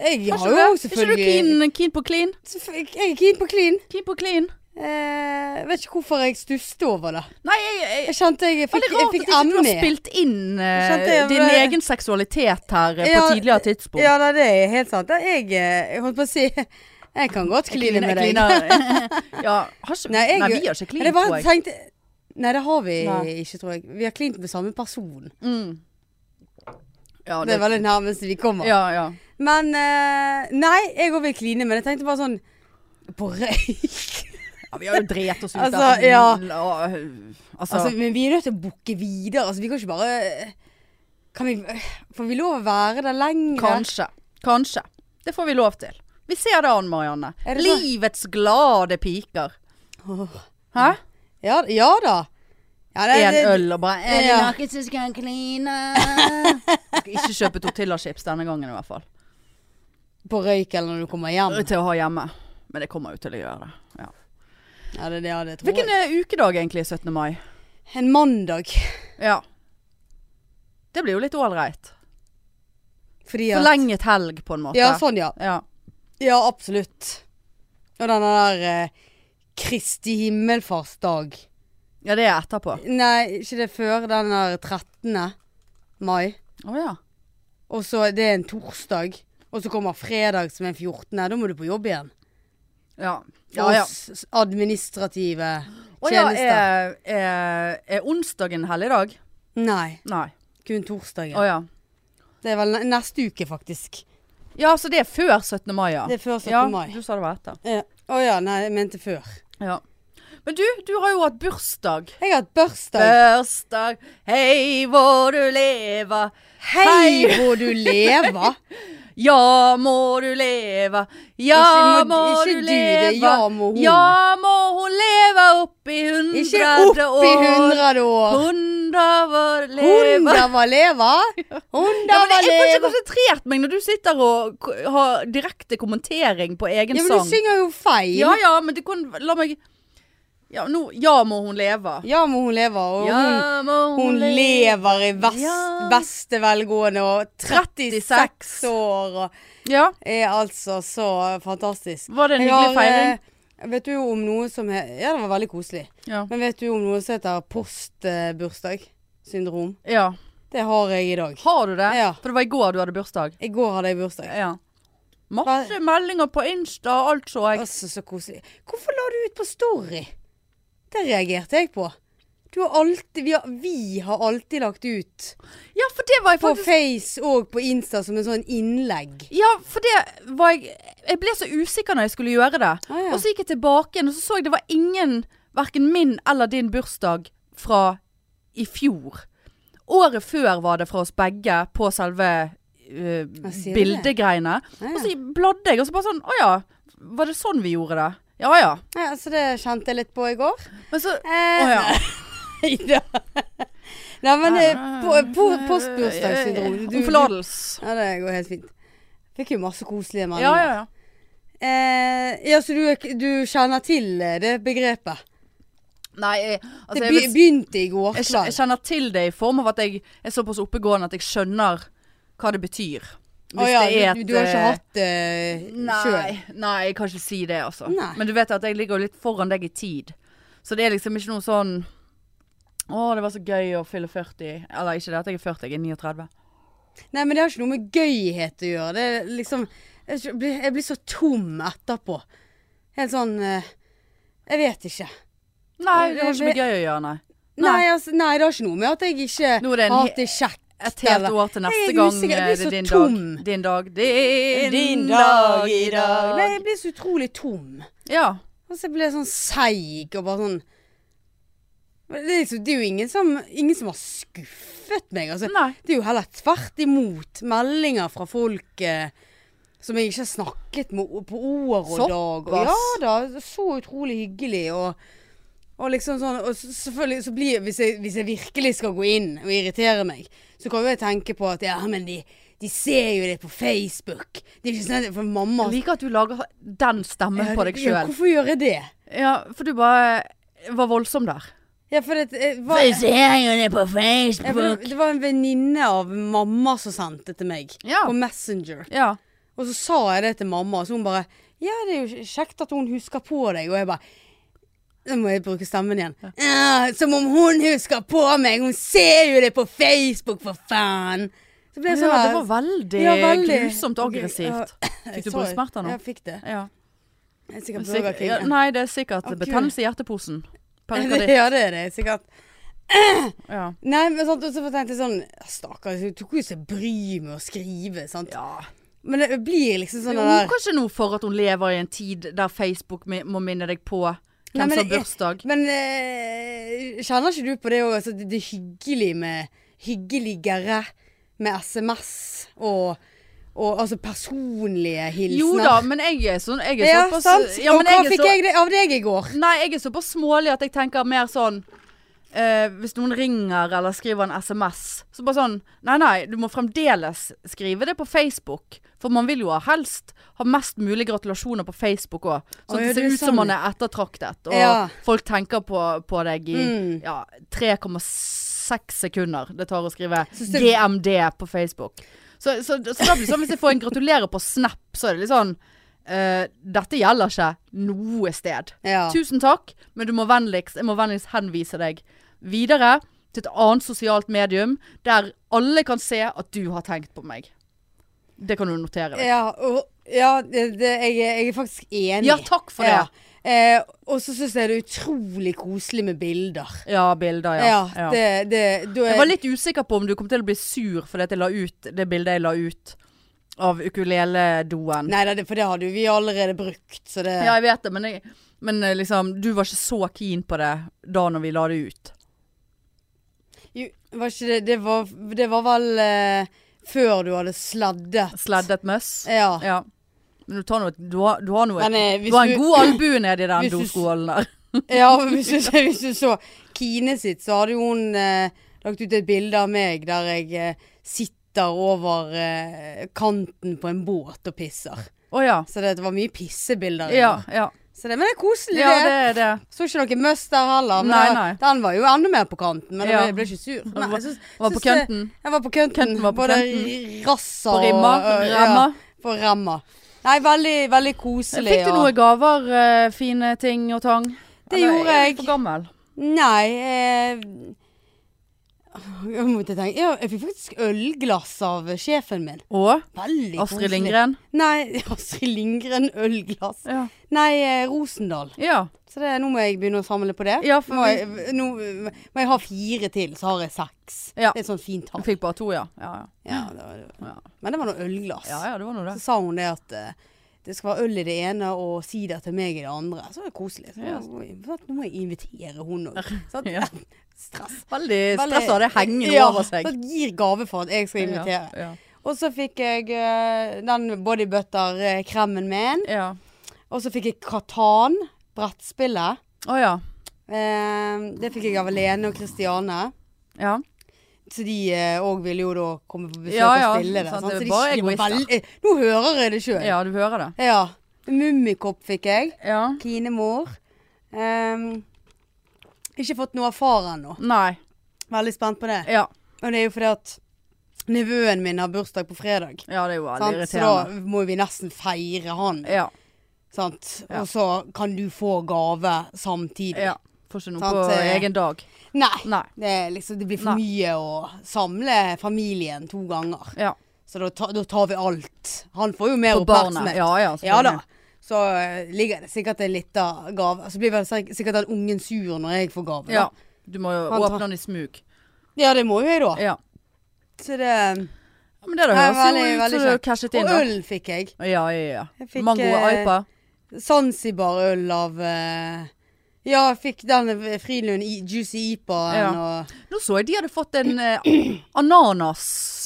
S1: Jeg har
S2: Kanskje
S1: jo
S2: det?
S1: selvfølgelig
S2: Er ikke du keen, keen på clean?
S1: Selvfø- Jeg er keen på clean.
S2: Keen på clean?
S1: Eh, vet ikke hvorfor jeg stusset over det.
S2: Nei, jeg, jeg
S1: Jeg kjente jeg fikk,
S2: Veldig
S1: jeg
S2: rart at
S1: fikk
S2: ikke du har
S1: ME.
S2: spilt inn eh,
S1: Skjønte jeg,
S2: din
S1: men-
S2: egen seksualitet her eh,
S1: Ja,
S2: på tidligere tidspunkt.
S1: Ja, nei, det er helt sant. Da, Jeg, eh, jeg holdt på å si Jeg kan godt kline med deg.
S2: ja, har ikke, nei,
S1: Nei, jeg-
S2: vi har ikke
S1: Men jeg
S2: klint, tror
S1: bare
S2: jeg.
S1: tenkte Nei, det har vi
S2: Nei.
S1: ikke, tror jeg. Vi har klint med samme person.
S2: Mm. Ja,
S1: Det er veldig nærmest vi kommer.
S2: ja, ja.
S1: Men eh, Nei, jeg òg vil kline, men jeg tenkte bare sånn På røyk.
S2: ja, vi har jo drept oss ut
S1: Altså,
S2: av
S1: ja.
S2: altså,
S1: Altså, men vi er nødt til å booke videre. Altså, vi kan ikke bare kan vi, eh, Får vi lov å være der lenger?
S2: Kanskje. Kanskje. Det får vi lov til. Vi ser det an, Marianne.
S1: Er det så-
S2: Livets glade piker.
S1: Åh.
S2: Hæ?
S1: Ja, ja da. Ja, det-
S2: En
S1: det-
S2: øl og bare Er det
S1: Ja.
S2: noen som skal kline? Jeg skal ikke kjøpe Tortilla-chips denne gangen i hvert fall.
S1: På røyk eller når du kommer hjem.
S2: Til å ha hjemme. Men det kommer jo til å gjøre det. Ja.
S1: Ja, det, ja, det tror jeg.
S2: Hvilken eh, ukedag egentlig er 17. mai?
S1: En mandag.
S2: Ja. Det blir jo litt ålreit.
S1: Fordi at
S2: Forlenget helg, på en måte.
S1: Ja, sånn ja.
S2: ja.
S1: Ja, absolutt. Og denne der eh, Kristi himmelfartsdag.
S2: ja, det er etterpå.
S1: Nei, ikke det før den der 13. mai.
S2: Å ja.
S1: Og så det er en torsdag. Og så kommer fredag som er 14. Da må du på jobb igjen.
S2: Ja. ja, ja.
S1: Og s- administrative
S2: Å ja, eh.
S1: tjenester.
S2: er, er, er onsdagen helligdag?
S1: Nei,
S2: Nei.
S1: kun torsdagen.
S2: Å ja.
S1: Det er vel ne- neste uke, faktisk.
S2: Ja, så det er før 17. mai, ja.
S1: Det er før 17.
S2: ja,
S1: mai.
S2: Du sa det var etter.
S1: Eh, Å ja, nei, jeg mente før.
S2: Ja. Men du, du har jo hatt bursdag.
S1: Jeg har hatt børsdag.
S2: Eh, Bursdag, hei hvor du lever.
S1: Hei, hvor du lever!
S2: Ja må du leve, ja
S1: Ikke
S2: må,
S1: må- ikke
S2: du
S1: du, det
S2: leve.
S1: er ja må hun.
S2: Ja må hun leve oppi hundre
S1: Ikke opp i hundrede år.
S2: Hundre vår leve.
S1: Hunder var leva.
S2: Ja,
S1: Hunder
S2: men
S1: var
S2: jeg får ikke
S1: leva.
S2: konsentrert meg når du sitter og k- har direkte kommentering på egen
S1: Ja, men du
S2: sang.
S1: synger jo feil.
S2: Ja, ja, men du kan La meg Ja, nå Ja må hun leve.
S1: Ja, men hun lever, og hun,
S2: må
S1: hun lever i vest,
S2: Ja.
S1: beste velgående og 36
S2: 36
S1: år og
S2: Ja.
S1: er altså så fantastisk.
S2: Var det en
S1: Jeg
S2: hyggelig
S1: har,
S2: feiring?
S1: eh, Vet du om noe som he Ja, det var veldig koselig.
S2: Ja.
S1: Men vet du om noe som heter postbursdagssyndrom?
S2: ja.
S1: Det har jeg i dag.
S2: Har du det?
S1: Ja.
S2: For det var i går du hadde bursdag.
S1: I går hadde jeg bursdag.
S2: Ja. Masse meldinger på Insta og alt, så jeg.
S1: Altså, så koselig. Hvorfor la du ut på Story? Det reagerte jeg på. Du har alltid, vi, har, vi har alltid lagt ut
S2: Ja, for det var jeg
S1: på
S2: faktisk
S1: Face og på Insta som en sånn innlegg.
S2: Ja, for det var jeg Jeg ble så usikker når jeg skulle gjøre det.
S1: Ah, ja.
S2: Og så gikk jeg tilbake igjen, og så så jeg det var ingen, verken min eller din bursdag fra i fjor. Året før var det fra oss begge på selve eh,
S1: sier du det?
S2: bildegreiene.
S1: Ah, Ja,
S2: Og
S1: ja.
S2: så bladde jeg, og så bare sånn Å ja, var det sånn vi gjorde det? Ja ja.
S1: Ja, så det kjente jeg litt på i går.
S2: Men så
S1: Eh,
S2: Å ja.
S1: Nei da. Nei, men eh, po po postbursdagssyndrom du-
S2: Eh, Om forlatelse.
S1: du- Ja, det går helt fint. Fikk jo masse koselige
S2: Ja,
S1: meldinger.
S2: ja, ja.
S1: Eh, ja, så du, er k- du kjenner til eh, det begrepet?
S2: Nei, jeg, altså,
S1: det
S2: jeg, vil,
S1: be- begynte i går
S2: jeg, kjen- jeg
S1: kveld.
S2: kjenner til det i form av at jeg er såpass oppegående at jeg skjønner hva det betyr. Hvis
S1: Å ja,
S2: det er
S1: du,
S2: et
S1: du har ikke
S2: eh,
S1: hatt det sjøl?
S2: Nei, nei, jeg kan ikke si det, altså.
S1: Nei.
S2: Men du vet at jeg ligger jo litt foran deg i tid. Så det er liksom ikke noe sånn Å, det var så gøy å fylle 40. Eller ikke det at jeg er 40, jeg er 39.
S1: Nei, men det har ikke noe med gøyhet å gjøre. Det er liksom Jeg sk- blir, jeg blir så tom etterpå. Helt sånn eh, Jeg vet ikke.
S2: Nei, det har ikke
S1: vi-
S2: blitt gøy å gjøre, nei.
S1: Nei,
S2: Nei.
S1: altså, nei, det har ikke noe med at jeg ikke
S2: Nå er det en
S1: har
S2: he-
S1: hatt det kjekt.
S2: Et helt
S1: eller-
S2: år til
S1: Jeg
S2: neste
S1: er
S2: gang
S1: usikker, jeg
S2: eh,
S1: blir
S2: det er
S1: så
S2: din
S1: tom.
S2: dag. Din dag. Din,
S1: Din dag i dag. Nei, jeg blir så utrolig tom.
S2: Ja.
S1: Altså, jeg ble sånn seig og bare sånn Men det er, liksom, det er jo ingen som, ingen som har skuffet meg. Altså,
S2: Nei.
S1: det er jo heller tvert imot meldinger fra folk eh, som jeg ikke har snakket med o- på år og dag. Og ja
S2: Såpass.
S1: da, så utrolig hyggelig. Og, og liksom sånn Og s- selvfølgelig så blir hvis jeg, hvis jeg virkelig skal gå inn og irritere meg, så kan jo jeg tenke på at ja, men de, de ser jo det på Facebook. Det er ikke sånn at For mamma
S2: Jeg liker at du lager den stemmen
S1: Ja,
S2: på deg
S1: Ja,
S2: sjøl.
S1: hvorfor gjør jeg det?
S2: Ja, for du bare var voldsom der.
S1: Ja, for det, eh, var,
S3: Jeg ser jo det på
S1: ja, for
S3: Facebook.
S1: det, det var en venninne av mamma som sendte til meg.
S2: Ja.
S1: På Messenger.
S2: Ja.
S1: Og så sa jeg det til mamma, så hun bare Ja, det er jo kjekt at hun husker på deg. Og jeg bare Nå må jeg bruke stemmen igjen. «Ja, som om hun husker på meg! Hun ser jo det på Facebook, for faen! Så ble
S2: ja,
S1: jeg sånn
S2: det
S1: der-
S2: var veldig,
S1: Ja, veldig.
S2: grusomt aggressivt. Fikk du
S1: Sorry.
S2: blodsmerter nå?
S1: Ja, jeg fikk det.
S2: Ja.
S1: Jeg er sikkert Burger
S2: Sikkert,
S1: King.
S2: ja, nei, det er sikkert
S1: Å, Gud.
S2: betennelse i hjerteposen. Perikarditt.
S1: ja, det er det sikkert.
S2: Ja.
S1: Nei, men sant, og så tenkte jeg sånn Stakkars, hun tok jo seg bryet med å skrive, sant.
S2: ja.
S1: Men det blir liksom sånn
S2: Hun
S1: det der
S2: kan ikke noe for at hun lever i en tid der Facebook mi- må minne deg på
S1: Nei,
S2: hvem
S1: men
S2: som har
S1: det er-
S2: bursdag.
S1: Men eh, kjenner ikke du på det òg? Altså, det, det er hyggelig med Hyggeligere med SMS og, og altså personlige hilsener.
S2: Jo da, men jeg er sånn jeg er
S1: ja,
S2: såpass,
S1: sant?
S2: Ja,
S1: og
S2: men
S1: hva
S2: er
S1: fikk
S2: så-
S1: jeg det- av deg i går?
S2: Nei, jeg er såpass smålig at jeg tenker mer sånn eh, Hvis noen ringer eller skriver en SMS, så bare sånn Nei, nei, du må fremdeles skrive det på Facebook. For man vil jo ha- helst ha mest mulig gratulasjoner på Facebook òg.
S1: Å,
S2: Sånn
S1: ja,
S2: at det
S1: det er
S2: ser ut som
S1: sånn.
S2: man er ettertraktet. Og
S1: Ja.
S2: folk tenker på, på deg i
S1: Mm.
S2: ja, 3,6 sekunder det tar å skrive
S1: Synes det-
S2: GMD på Facebook. Så, så, så da blir det sånn hvis jeg får en gratulerer på Snap, så er det litt sånn eh, Dette gjelder ikke noe sted.
S1: Ja.
S2: Tusen takk, men du må vennligst, jeg må vennligst henvise deg videre til et annet sosialt medium der alle kan se at du har tenkt på meg. Det kan du notere deg.
S1: Ja, og, ja det, det, jeg, er- jeg er faktisk enig.
S2: Ja, takk for det.
S1: Eh, og så syns jeg det er utrolig koselig med bilder.
S2: Ja, bilder,
S1: Ja,
S2: ja. ja.
S1: det, det da er-
S2: Jeg var litt usikker på om du kom til å bli sur fordi at jeg la ut det bildet jeg la ut av ukuleledoen.
S1: Nei, det, for det hadde jo vi allerede brukt, så det
S2: Ja, jeg vet det, men, jeg, men eh, liksom, du var ikke så keen på det da når vi la det ut.
S1: Jo, var ikke det Det var, det var vel eh, før du hadde sladdet.
S2: Sleddet møss.
S1: Ja.
S2: Ja. Men du, tar noe, du, har, du har noe
S1: Men eh,
S2: Du har
S1: hvis
S2: en
S1: du,
S2: god albue nedi den
S1: Hvis du-
S2: doskålen der.
S1: ja, men hvis, du, hvis du så Kine sitt, så hadde jo hun eh, lagt ut et bilde av meg der jeg eh, sitter over eh, kanten på en båt og pisser.
S2: Å ja.
S1: Så det, det var mye pissebilder. i
S2: Ja,
S1: den.
S2: ja.
S1: Så det, men det er koselig,
S2: ja, det
S1: det.
S2: er det.
S1: Så ikke noe møss der heller. Men
S2: Nei,
S1: da-
S2: nei.
S1: Den var jo enda mer på kanten, men
S2: Ja.
S1: jeg ble ikke sur. Nei,
S2: var-
S1: jeg syns-
S2: Var på
S1: syns det-
S2: kønten.
S1: Jeg var på kønten.
S2: Kønten var på
S1: Både
S2: kønten.
S1: rassa
S2: På
S1: og-
S2: rimma.
S1: og- ja.
S2: Ramma.
S1: På ramma. Nei, veldig, veldig koselig.
S2: Fikk du noen gaver, eh, fine ting og tang?
S1: Det
S2: Eller
S1: gjorde
S2: er du
S1: jeg.
S2: For gammel.
S1: Og... Nei eh... Jeg måtte tenke. Ja, jeg fikk faktisk ølglass av sjefen min.
S2: Og
S1: Veldig
S2: Astrid
S1: koselig.
S2: Lindgren.
S1: Nei, Astrid Lindgren ølglass.
S2: Ja.
S1: Nei, eh, Rosendal.
S2: ja.
S1: Så det, nå må jeg begynne å samle på det.
S2: Ja, for
S1: må, jeg, nå, må jeg ha fire til, så har jeg seks.
S2: Ja.
S1: Det er et sånt fint
S2: Du
S1: tall.
S2: fikk bare to, ja. Ja ja.
S1: Ja, det var, det.
S2: Ja.
S1: Men det var noe ølglass.
S2: ja, ja det var nå det.
S1: Så sa hun det at eh, det skal være øl i det ene og sider til meg i det andre. Så det er koselig. Så,
S2: Ja.
S1: så at nå må jeg invitere hun òg.
S2: Ja.
S1: Stress.
S2: Veldig
S1: Veldig-
S2: stressa, det henger nå
S1: Ja,
S2: over seg.
S1: Så gir gave for at jeg skal invitere.
S2: Ja.
S1: Og så fikk jeg eh, den eh, bodybutter-kremen min.
S2: ja.
S1: Og så fikk jeg Katan, brettspillet.
S2: Å ja.
S1: Eh, det fikk jeg av Lene og Kristiane.
S2: Ja.
S1: Så de òg ville jo da komme på besøk
S2: Ja, ja,
S1: og spille det.
S2: sant,
S1: sant?
S2: det er
S1: Så de
S2: bare
S1: skriver
S2: egoister.
S1: veldig- Nå hører jeg det sjøl.
S2: ja, du hører det.
S1: ja. Mummikopp fikk jeg.
S2: Ja.
S1: Kine-mor. Ehm, ikke fått noe av far ennå.
S2: Nei.
S1: Veldig spent på det.
S2: Ja.
S1: Og det er jo fordi at nevøen min har bursdag på fredag.
S2: ja, det er jo veldig
S1: Sant? Så da
S2: irriterende.
S1: må vi nesten feire han.
S2: Ja.
S1: Sant?
S2: Ja.
S1: Og så kan du få gave samtidig.
S2: ja. Får ikke noe
S1: Sant,
S2: på
S1: eh,
S2: egen dag.
S1: Nei.
S2: Nei.
S1: Det, er liksom, det blir for
S2: Nei.
S1: mye å samle familien to ganger.
S2: Ja.
S1: Så da, ta, da tar vi alt. Han får jo mer
S2: På barnet.
S1: oppmerksomhet.
S2: Ja ja.
S1: Ja da. så eh, ligger det sikkert en liten gave. Altså blir vel sik- sikkert den ungen sur når jeg får gave.
S2: Ja.
S1: da.
S2: Du må jo
S1: Han tar-
S2: åpne den i smug.
S1: ja, det må jo jeg da.
S2: Ja.
S1: Så det
S2: Ja, Men det da
S1: Nei,
S2: høres jo
S1: veldig-
S2: ut
S1: veldig
S2: som du har
S1: kjekt.
S2: cashet inn.
S1: Og
S2: da.
S1: øl fikk jeg.
S2: Ja, ja, ja.
S1: Jeg fikk,
S2: Mango og
S1: eh,
S2: Aipa.
S1: Zanzibar-øl av eh, Ja, jeg fikk den eh, Frilund i- Juicy Ipa-en
S2: Ja.
S1: og
S2: Nå så jeg de hadde fått en eh,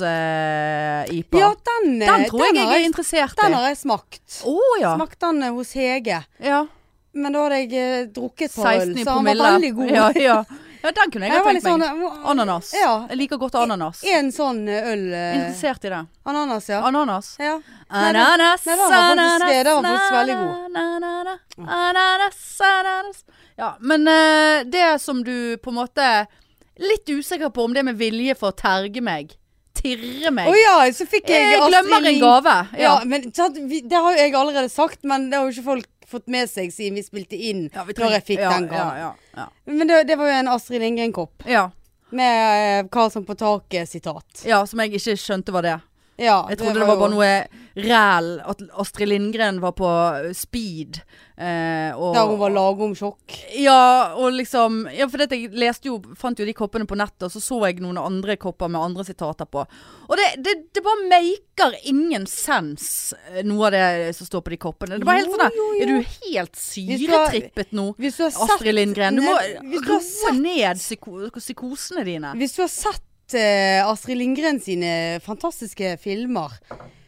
S2: ananas-ipa.
S1: Ja, den, eh,
S2: den tror
S1: den
S2: jeg
S1: har
S2: jeg er interessert i.
S1: Den har jeg smakt.
S2: Å ja.
S1: Smakt den eh, hos Hege.
S2: ja.
S1: Men da hadde jeg eh, drukket et par øl,
S2: 16
S1: så han
S2: i
S1: var
S2: promille.
S1: veldig god.
S2: Ja, ja. ja, den kunne jeg
S1: Jeg
S2: ha
S1: var
S2: tenkt
S1: litt sånn,
S2: meg.
S1: eh,
S2: Ananas.
S1: Ja.
S2: Jeg liker godt ananas.
S1: En sånn eh, øl eh,
S2: Interessert i det.
S1: Ananas, ja.
S2: Ananas.
S1: ja. Nei, den-
S2: Ananas,
S1: nei, den var faktisk- det var faktisk
S2: na,
S1: veldig god.
S2: na, na, na, Ananas, ananas. Ja, men eh, det som du på en måte Litt usikker på om det er med vilje for å terge meg. Tirre meg.
S1: Å ja, så fikk jeg,
S2: jeg glemmer en
S1: Ling-
S2: gave.
S1: Ja, men sant, vi, Det har jo jeg allerede sagt, men det har jo ikke folk fått med seg siden vi spilte inn
S2: Ja, vi
S1: når
S2: trenger-
S1: jeg fikk
S2: ja,
S1: den gaven.
S2: Ja, ja,
S1: Men det, det var jo en Astrid Lindgren-kopp
S2: ja. ja.
S1: med eh, Karlsson på taket-sitat.
S2: ja, som jeg ikke skjønte var det.
S1: Ja,
S2: Jeg trodde det var, bare noe ræl. At Astrid Lindgren var på speed. Eh, og,
S1: Der hun var lagom sjokk.
S2: Ja, og liksom ja, for dette, Jeg leste jo, fant jo de koppene på nettet, og så så jeg noen andre kopper med andre sitater på. Og det, det, det bare maker ingen sens, eh, noe av det som står på de koppene. Det var helt
S1: Jo,
S2: sånn der,
S1: jo, jo.
S2: Er du helt
S1: Vi skal-
S2: syretrippet nå,
S1: Hvis du har sett
S2: Astrid Lindgren? Du må
S1: Nei, hvis du har
S2: roe ned psyko psykosene dine.
S1: Hvis du har sett eh, Astrid Lindgren sine fantastiske filmer,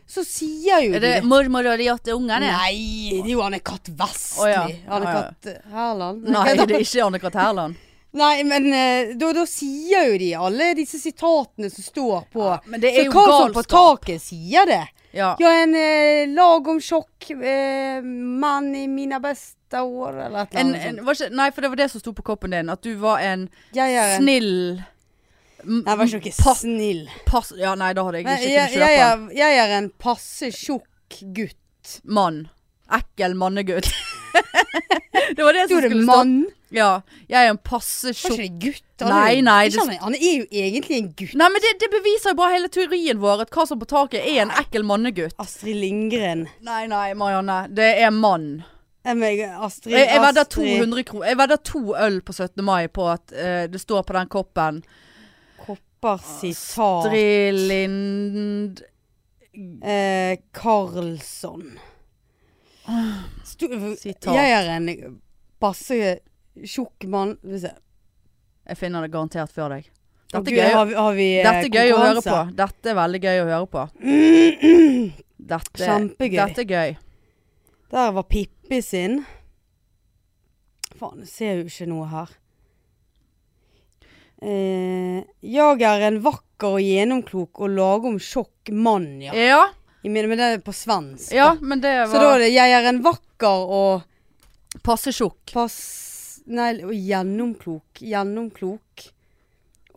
S1: så sier jo
S2: Er det
S1: de
S2: mormor og de åtte ungene?
S1: Nei, det er jo Anne-Katt Vestli.
S2: Å ja.
S1: Anne-Katt Herland.
S2: Nei, det er ikke Anne-Cath. Hærland.
S1: Nei, men eh, da, da sier jo de alle disse sitatene som står på.
S2: Ja, men det er
S1: så
S2: jo
S1: Karlsson på
S2: galskap.
S1: taket sier det.
S2: Ja.
S1: Ja, en eh, lag om sjokk, eh, mann i mine beste år, eller et eller
S2: En,
S1: annet.
S2: en,
S1: sånt.
S2: var ikke, nei, for det var det som sto på koppen din. At du var en
S1: jeg er en
S2: snill m-
S1: Nei, var ikke noe
S2: pass-
S1: snill.
S2: pass, Ja, nei, da hadde jeg
S1: Men
S2: ikke
S1: jeg,
S2: kunnet kjøpe
S1: jeg,
S2: den.
S1: er, jeg er en passe tjukk gutt.
S2: Mann. Ekkel mannegutt. det var det som
S1: Sto det
S2: skulle stå.
S1: mann?
S2: Ja. Jeg er en passe
S1: Var
S2: tjukk
S1: ikke det gutt?
S2: Nei,
S1: jo-
S2: nei,
S1: ikke
S2: det-
S1: han, han er jo egentlig en gutt.
S2: Nei, men det, det beviser jo bare hele teorien vår. At Karlsson på taket er en ekkel mannegutt.
S1: Astrid Lindgren.
S2: Nei, nei, Marianne. Det er mann.
S1: Eh, men Astrid,
S2: Jeg, jeg vedder
S1: Astrid
S2: 200 kroner. Jeg vedder to øl på 17. mai på at eh, det står på den koppen
S1: Kopper sitat.
S2: Astrid Lind...
S1: Eh, Karlsson. Sto,
S2: Sitat.
S1: Jeg er en passe tjukk mann Skal vi se.
S2: Jeg finner det garantert før deg. Dette
S1: Gud,
S2: er gøy,
S1: Har vi, har vi eh,
S2: dette er gøy å høre
S1: konkurranse?
S2: på. Dette er veldig gøy å høre på. Dette,
S1: Kjempegøy.
S2: Dette er gøy.
S1: Der var Pippi sin. Faen, jeg ser jo ikke noe her. Eh, jeg er en vakker og gjennomklok og lagom tjokk mann, ja.
S2: Ja,
S1: Jeg mener, men det er på svensk.
S2: ja,
S1: da.
S2: men det
S1: Så da
S2: var
S1: er det 'jeg er en vakker og
S2: passe tjukk.
S1: pass... Nei, og gjennomklok. Gjennomklok.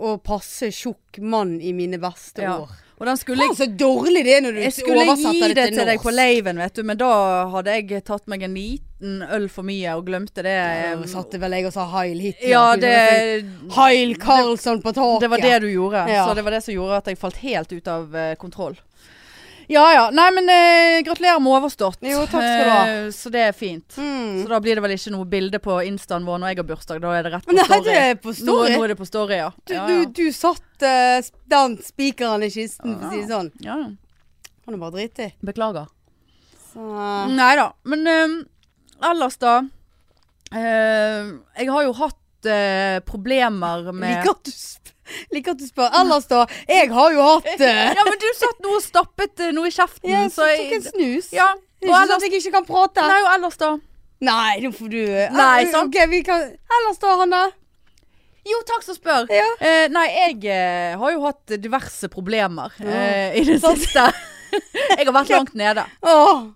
S1: Og passe tjukk mann i mine beste
S2: Ja.
S1: år.
S2: Og den skulle
S1: Faen,
S2: jeg
S1: så dårlig det er når du
S2: jeg skulle gi
S1: oversetter
S2: det til deg
S1: norsk.
S2: på laven, vet du, men da hadde jeg tatt meg en liten øl for mye og glemte det.
S1: Da satte vel jeg og sa Heil Hitler.
S2: Ehm, Ja,
S1: Fy,
S2: det,
S1: Heil Karlsson på taket.
S2: det var det du gjorde.
S1: Ja.
S2: Så det var det som gjorde at jeg falt helt ut av eh, kontroll. Ja ja. Nei, men eh, gratulerer med overstått.
S1: Jo, takk skal du ha.
S2: Eh, så det er fint.
S1: Mm.
S2: Så da blir det vel ikke noe bilde på instaen vår når jeg har bursdag. Da er det rett på
S1: Nei,
S2: story.
S1: det er på
S2: Nå,
S1: story.
S2: nå er det på story, ja.
S1: Du,
S2: ja,
S1: du,
S2: ja.
S1: du satt eh, den spikeren i kisten, for å si det sånn.
S2: ja. ja.
S1: Han er bare dritig.
S2: Beklager.
S1: Så eh,
S2: Nei da. Men øhm, ellers, da. Øhm, jeg har jo hatt øh, problemer med
S1: liker at du sp- liker at du spør. Ellers, da. Jeg har jo hatt eh,
S2: Ja, men du satt nå og stappet øh, noe i kjeften,
S1: Jeg
S2: så
S1: tok
S2: jeg
S1: en snus.
S2: Ja.
S1: Det er ikke
S2: Og
S1: sånn
S2: ellers
S1: at jeg ikke kan prate.
S2: Nei, og ellers, da.
S1: Nei, nå får du eh,
S2: Nei,
S1: eh,
S2: sant.
S1: ok, vi kan Ellers, da, Hanne?
S2: Jo, takk som spør.
S1: Ja.
S2: Eh, nei, jeg eh, har jo hatt diverse problemer eh, i det
S1: Sant.
S2: siste. jeg har vært langt nede.
S1: Åh.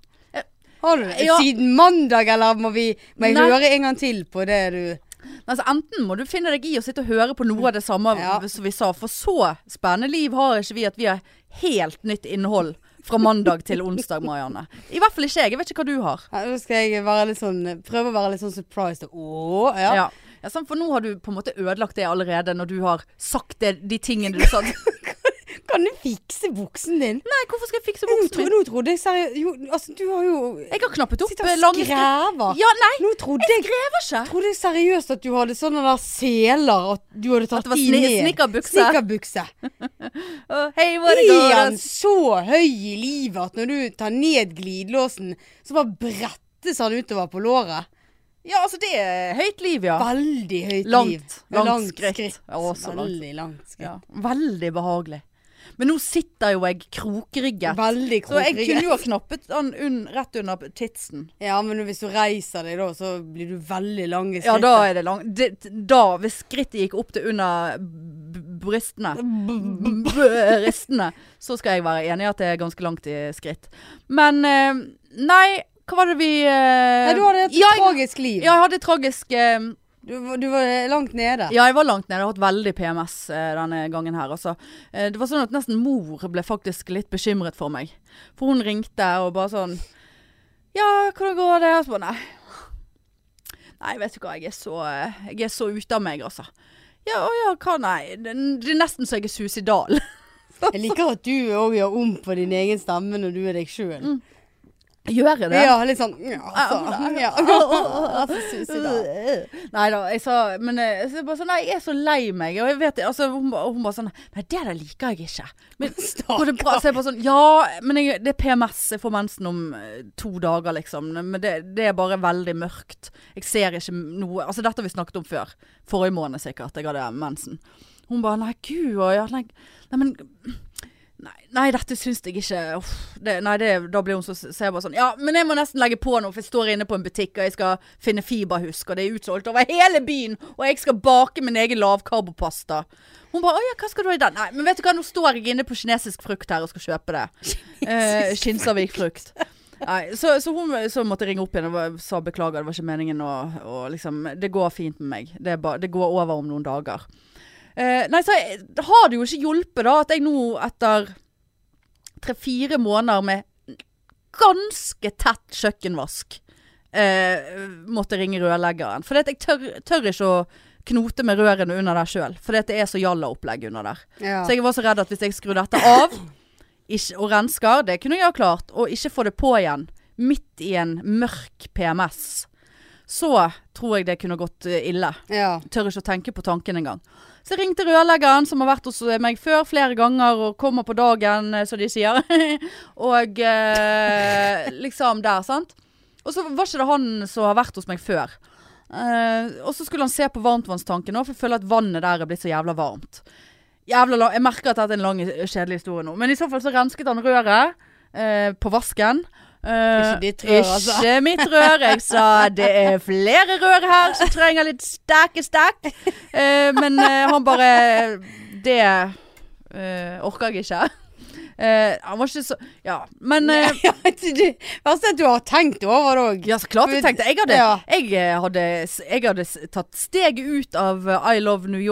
S1: Har du det?
S2: Ja.
S1: Siden mandag, eller må, vi, må jeg
S2: Nei.
S1: høre en gang til på det du
S2: Men Altså, enten må du finne deg i å sitte og høre på noe av det samme
S1: Ja.
S2: som vi sa, for så spennende liv har ikke vi at vi har helt nytt innhold fra mandag til onsdag, Marianne. I hvert fall ikke jeg. Jeg vet ikke hva du har.
S1: Ja, Nå skal jeg være litt sånn, prøve å være litt sånn surprised. Åh, ja.
S2: Ja. Ja, sant, for nå har du på en måte ødelagt det allerede, når du har sagt det, de tingene du sa.
S1: Hva kan du fikse buksen din?
S2: Nei, hvorfor skal jeg fikse
S1: Nå,
S2: buksen
S1: tro,
S2: min?
S1: nå trodde jeg seriøst Jo, altså, du har jo
S2: Jeg har knappet opp
S1: Sitter
S2: eh,
S1: og
S2: lange skrever.
S1: skrever.
S2: Ja, nei,
S1: Nå trodde
S2: jeg
S1: jeg
S2: skrever ikke.
S1: trodde jeg seriøst at du hadde sånne der seler at du hadde
S2: At
S1: tatt
S2: det var
S1: de
S2: sne-
S1: ned.
S2: snickerbukse.
S1: Snickerbukse.
S2: Oh, hey, what it
S1: Er han
S2: goes.
S1: så høy i livet at når du tar ned glidelåsen, så bare brettes han utover på låret?
S2: Ja, altså det er høyt liv, ja.
S1: Veldig høyt
S2: Langt.
S1: liv.
S2: Langt skritt. Ja, også langt.
S1: Veldig langt skritt.
S2: ja. Veldig behagelig. Men nå sitter jo jeg krokrygget.
S1: Veldig
S2: Så jeg
S1: krokrygget.
S2: kunne jo ha knappet den unn- rett under titsen.
S1: Ja, men hvis du reiser deg da, så blir du veldig lange skritt.
S2: Ja, da er det langt. Det, da, hvis skrittet gikk opp til under b- brystene Brystene. Så skal jeg være enig i at det er ganske langt i skritt. Men eh, nei, hva var det vi eh,
S1: Nei, du hadde et
S2: ja, jeg-
S1: tragisk liv.
S2: Ja, jeg hadde et tragisk eh,
S1: Du, var- du var langt nede.
S2: Ja, jeg var langt nede. Jeg har hatt veldig PMS eh, denne gangen her. Altså. Eh, det var sånn at nesten mor ble faktisk litt bekymret for meg. For hun ringte og bare sånn Ja, hvordan går det? Og så bare nei. Nei, vet du hva. Jeg er så, eh, jeg er så ute av meg, altså. Ja, å ja, hva nei. Det, det er nesten så jeg er suicidal.
S1: Jeg liker at du òg gjør om på din egen stemme når du er deg sjøl.
S2: Mm. Gjør jeg det?
S1: Ja, litt sånn ja, altså, ja. altså, suicidal.
S2: Nei da, jeg sa Men eh, så jeg bare sånn Nei, jeg er så lei meg. Og jeg vet det. Altså, hun, ba- hun bare sånn Nei, det der liker jeg ikke. Men Går det bra? Så jeg bare sånn Ja, men jeg, det er PMS. Jeg får mensen om eh, to dager, liksom. Men det, det er bare veldig mørkt. Jeg ser ikke noe Altså, dette har vi snakket om før. Forrige måned sikkert. Jeg hadde mensen. Hun bare Nei, gud. og Ja, nei, nei, men Nei, nei dette syns jeg ikke uff, det, Nei, det, da blir hun så Så jeg bare sånn Ja, men jeg må nesten legge på nå, for jeg står inne på en butikk, og jeg skal finne fiberhusk, og det er utsolgt over hele byen, og jeg skal bake min egen lavkarbopasta. Hun bare 'Å ja, hva skal du ha i den?' Nei, men vet du hva, nå står jeg inne på kinesisk frukt her og skal kjøpe det. Eh, Kinsarvik frukt. Nei, så, så hun så måtte jeg ringe opp igjen og bare sa beklager, det var ikke meningen å å liksom Det går fint med meg. Det, er ba, det går over om noen dager. Eh, nei, så jeg- det har det jo ikke hjulpet, da, at jeg nå etter tre-fire måneder med ganske tett kjøkkenvask eh, måtte ringe rørleggeren. For jeg tør, tør ikke å knote med rørene under der sjøl, for det er så jalla opplegg under der.
S1: Ja.
S2: Så jeg var så redd at hvis jeg skrur dette av ikke, og rensker, det kunne jeg ha klart, og ikke få det på igjen midt i en mørk PMS, så tror jeg det kunne gått eh, ille.
S1: ja.
S2: Tør ikke å tenke på tanken engang. Så jeg ringte rørleggeren, som har vært hos eh, meg før flere ganger og kommer på dagen, eh, som de sier. og eh, liksom der, sant. Og så var ikke det han som har vært hos meg før. Eh, og så skulle han se på varmtvannstanken nå, for jeg føler at vannet der er blitt så jævla varmt. Jævla lang, jeg merker at dette er en lang, kjedelig historie nå. Men i så fall så rensket han røret eh, på vasken. Eh,
S1: Ikke ditt rør, altså.
S2: Ikke mitt rør. Jeg sa det er flere rør her som trenger litt sterke stek. Eh, men eh, han bare Det eh, orker jeg ikke. Eh, han var ikke så Ja, men eh,
S1: ja, det verste er at du har tenkt over det òg.
S2: ja, så klart jeg tenkte. Jeg hadde,
S1: Ja.
S2: jeg, eh, hadde, jeg hadde s- tatt steget ut av eh, I Love New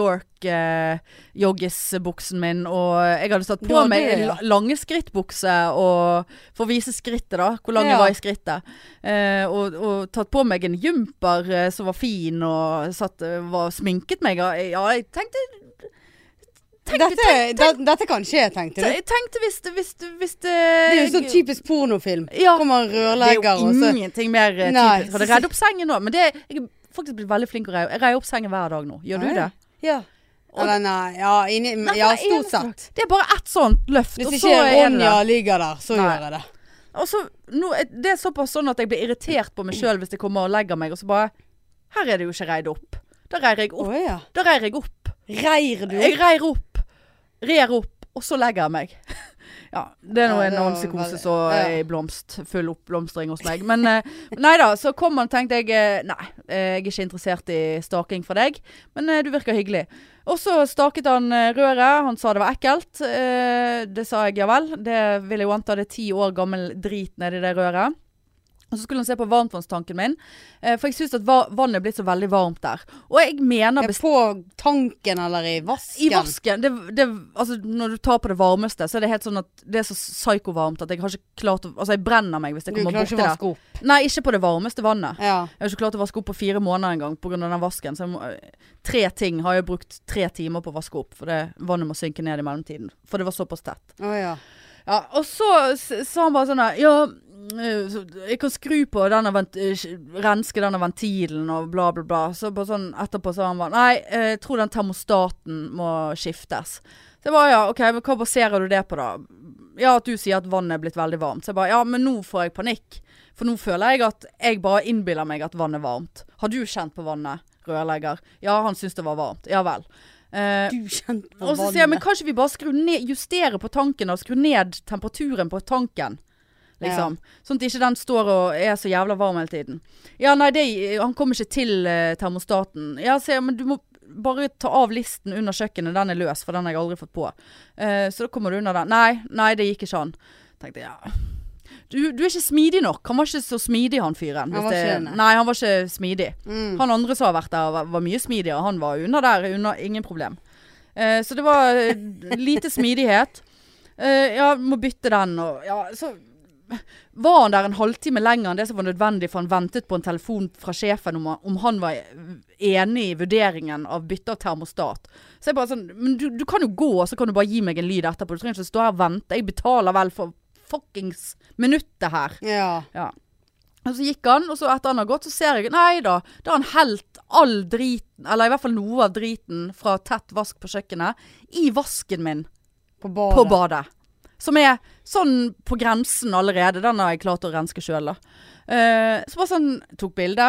S2: York-joggisbuksen min, og jeg hadde satt
S1: Du
S2: på
S1: hadde
S2: meg
S1: det, ja.
S2: la- lange skrittbukse og, for å vise skrittet, da. Hvor lang
S1: Ja.
S2: jeg var i skrittet. Eh, og, og tatt på meg en jumper eh, som var fin, og satt, eh, var sminket meg. og- Ja, jeg tenkte
S1: Dette, det- dette kan skje, tenkte du.
S2: Jeg tenkte hvis, hvis, hvis det
S1: Det er jo sånn typisk pornofilm.
S2: Ja.
S1: Kommer en rørlegger og
S2: Det
S1: så
S2: er jo ingenting mer eh,
S1: Nei.
S2: typisk. Kan du redde opp sengen nå? Men det, jeg er faktisk blitt veldig flink å reie Jeg reier opp sengen hver dag nå. Gjør
S1: Nei.
S2: du det?
S1: Ja. Eller nei, ja, inni,
S2: Nei,
S1: ja
S2: hver
S1: stort
S2: eneste dag.
S1: sett.
S2: Det er bare ett sånt løft,
S1: Hvis
S2: og så
S1: ikke
S2: er det
S1: Ronja
S2: der.
S1: ligger der, så
S2: Nei.
S1: gjør jeg det.
S2: Og så, nå, er- det er såpass sånn at jeg blir irritert på meg sjøl hvis jeg kommer og legger meg, og så bare Her er det jo ikke reid opp. Da reier jeg
S1: Å
S2: opp.
S1: ja.
S2: Da reier jeg opp.
S1: Reir du
S2: Jeg reier opp. Rer opp. Og så legger jeg meg. Ja, det er nå
S1: Ja,
S2: en
S1: det var
S2: annen psykose
S1: veldig-
S2: som er i blomst. Full oppblomstring hos meg. Men eh, nei da, så kom han og tenkte jeg eh, Nei, eh, jeg er ikke interessert i staking fra deg, men eh, du virker hyggelig. Og så staket han eh, røret. Han sa det var ekkelt. Eh, det sa jeg ja vel. Det vil jeg jo anta det er ti år gammel drit nedi det røret. Og så skulle han se på varmtvannstanken min, eh, for jeg syns at va- vannet er blitt så veldig varmt der. Og jeg mener
S1: Er på tanken eller i vasken?
S2: I vasken. Det, det, altså, når du tar på det varmeste, så er det helt sånn at det er så psykovarmt at jeg har ikke klart å Altså, jeg brenner meg hvis jeg
S1: Du
S2: kommer
S1: klarer
S2: borti
S1: ikke å
S2: det.
S1: vaske opp.
S2: Nei, ikke på det varmeste vannet.
S1: Ja.
S2: Jeg har ikke klart å vaske opp på fire måneder engang pga. den vasken. Så jeg må, eh, tre ting har jeg brukt tre timer på å vaske opp, for det, vannet må synke ned i mellomtiden. For det var såpass tett.
S1: Å ja.
S2: Ja, og så s- sa han bare sånn der, Ja, eh, så jeg kan skru på denne vent eh, Renske denne ventilen og bla, bla, bla. Så bare sånn etterpå sa han bare Nei, eh, jeg tror den termostaten må skiftes. Så jeg bare ja, OK, men hva baserer du det på da? Ja, at du sier at vannet er blitt veldig varmt. Så jeg bare ja, men nå får jeg panikk. For nå føler jeg at jeg bare innbiller meg at vannet er varmt. Har du kjent på vannet, rørlegger? Ja, han syns det var varmt. Ja vel. Eh,
S1: Du kjente på
S2: og så sier jeg, men
S1: vannet.
S2: kan ikke vi bare skru ned, justere på tanken og skru ned temperaturen på tanken? Liksom. Sånn at ikke den står og er så jævla varm hele tiden. Ja, nei, det, han kommer ikke til eh, termostaten. Ja, sier jeg, men du må bare ta av listen under kjøkkenet. Den er løs, for den har jeg aldri fått på. Eh, så da kommer du under den. Nei, nei, det gikk ikke an. Tenkte jeg, ja. Du, du er ikke smidig nok. Han var ikke så smidig, han fyren.
S1: Han
S2: hvis
S1: var
S2: det-
S1: ikke det, nei.
S2: Nei, han var ikke smidig.
S1: Mm.
S2: Han andre som har vært der, var, var mye smidigere. Han var under der, under, ingen problem. Eh, så det var eh, lite smidighet. Eh, ja, må bytte den og Ja, så var han der en halvtime lenger enn det som var nødvendig, for han ventet på en telefon fra sjefen om, han- om han var enig i vurderingen av bytte av termostat. Så jeg bare sånn Men du, du kan jo gå, og så kan du bare gi meg en lyd etterpå. Du trenger ikke stå her og vente. Jeg betaler vel for fuckings minuttet her.
S1: Ja.
S2: Og så gikk han, og så etter han har gått, så ser jeg Nei da, da har han helt all driten, eller i hvert fall noe av driten fra tett vask på kjøkkenet, i vasken min
S1: På
S2: på
S1: badet.
S2: badet. Som er sånn på grensen allerede. Den har jeg klart å renske sjøl, da. Eh, så bare sånn Tok bilde.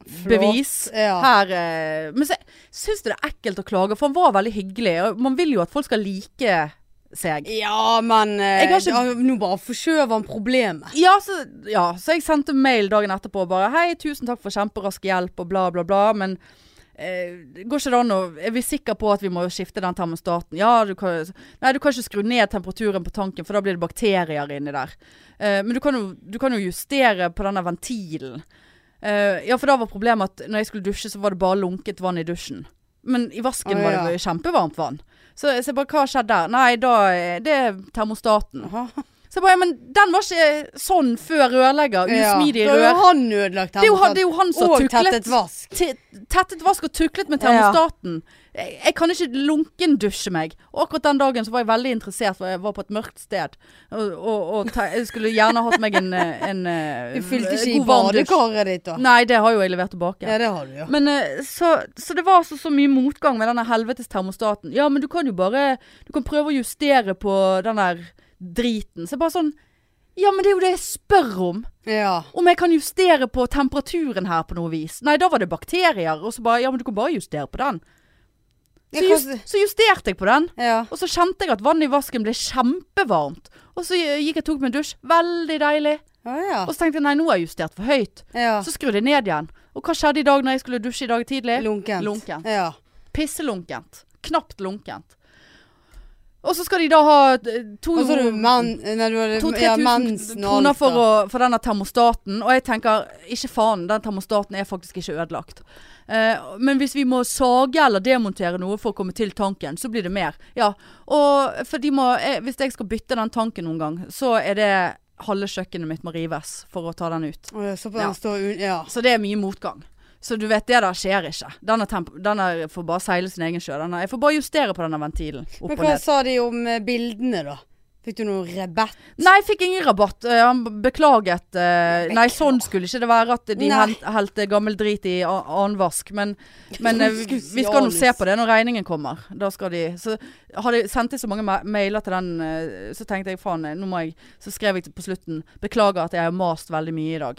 S1: Flott.
S2: Bevis.
S1: Ja.
S2: Her eh, Men så syns jeg det er ekkelt å klage, for han var veldig hyggelig. Og man vil jo at folk skal like seg.
S1: Ja, men eh,
S2: Jeg har ikke-
S1: ja, Nå bare forskjøver han problemet.
S2: Ja så, ja, så jeg sendte mail dagen etterpå og bare Hei, tusen takk for kjemperask hjelp og bla, bla, bla. Men eh, det går ikke det an å Er vi sikre på at vi må skifte den termostaten? Ja, du kan Nei, du kan ikke skru ned temperaturen på tanken, for da blir det bakterier inni der. Eh, men du kan, jo, du kan jo justere på denne ventilen. Eh, ja, for da var problemet at når jeg skulle dusje, så var det bare lunket vann i dusjen. Men i vasken
S1: Å,
S2: var
S1: ja.
S2: det kjempevarmt vann. Så, så jeg bare Hva skjedde der? Nei, da eh, Det er termostaten. Så jeg bare, ja, men den var ikke sånn før rørlegger. Usmidig
S1: Ja. Da har
S2: rør.
S1: jo han ødelagt
S2: Det er jo han, det er jo han som
S1: Og
S2: tuklet.
S1: tettet vask.
S2: Te- Tettet vask og tuklet med termostaten. Jeg, jeg kan ikke lunkendusje meg. Og akkurat den dagen så var jeg veldig interessert, for jeg var på et mørkt sted. Og, og, og te, jeg skulle gjerne hatt meg en, eh, en, eh,
S1: Du fylte ikke i
S2: god varm dusj.
S1: badekaret ditt, da.
S2: Nei, det har jo jeg levert tilbake.
S1: Ja, det har du jo.
S2: Men eh, så, så det var altså så mye motgang med denne helvetes termostaten. Ja, men du kan jo bare Du kan prøve å justere på den der driten. Så jeg bare sånn Ja, men det er jo det jeg spør om.
S1: Ja.
S2: Om jeg kan justere på temperaturen her på noe vis. Nei, da var det bakterier. Og så bare Ja, men du kan bare justere på den. Så,
S1: Jeg
S2: just,
S1: kan-
S2: så justerte jeg på den.
S1: ja.
S2: Og så kjente jeg at vannet i vasken ble kjempevarmt. Og så eh, gikk jeg og tok meg en dusj. Veldig deilig.
S1: Ja, ja.
S2: Og så tenkte jeg nei, nå har jeg justert for høyt.
S1: ja.
S2: Så skrudde jeg ned igjen. Og hva skjedde i dag når jeg skulle dusje i dag tidlig?
S1: Lunkent.
S2: Lunkent.
S1: Ja.
S2: Pisselunkent. Knapt lunkent. Og så skal de da ha eh, to
S1: Og så har du men, nei, du har, ja,
S2: 2000-3000
S1: mensen og
S2: kroner
S1: alt.
S2: for,
S1: da.
S2: å, for denne termostaten. Og jeg tenker ikke faen, den termostaten er faktisk ikke ødelagt. Eh, men hvis vi må sage eller demontere noe for å komme til tanken, så blir det mer. Ja, og for de må, eh, Hvis jeg skal bytte den tanken noen gang, så er det halve kjøkkenet mitt må rives for å ta den ut.
S1: Å, ja, så på
S2: Ja.
S1: den står un... Ja.
S2: Så det er mye motgang. Så du vet, det der skjer ikke. Denne, temp denne får bare seile sin egen sjø. Denne, jeg får bare justere på denne ventilen. Opp
S1: Men
S2: og
S1: hva
S2: ned.
S1: sa de om eh, bildene, da? Fikk du noe rebett?
S2: Nei, jeg fikk ingen rabatt. Eh, han beklaget. eh, Nei, sånn skulle ikke det være at de
S1: Nei.
S2: hent, helte gammel drit i a- annenvask. Men, men eh,
S1: Skulle si
S2: vi skal nå
S1: anus.
S2: se på det når regningen kommer. Da skal de Så hadde jeg sendt så mange ma- mailer til den, eh, så tenkte jeg faen, eh, nå må jeg Så skrev jeg på slutten Beklager at jeg har mast veldig mye i dag.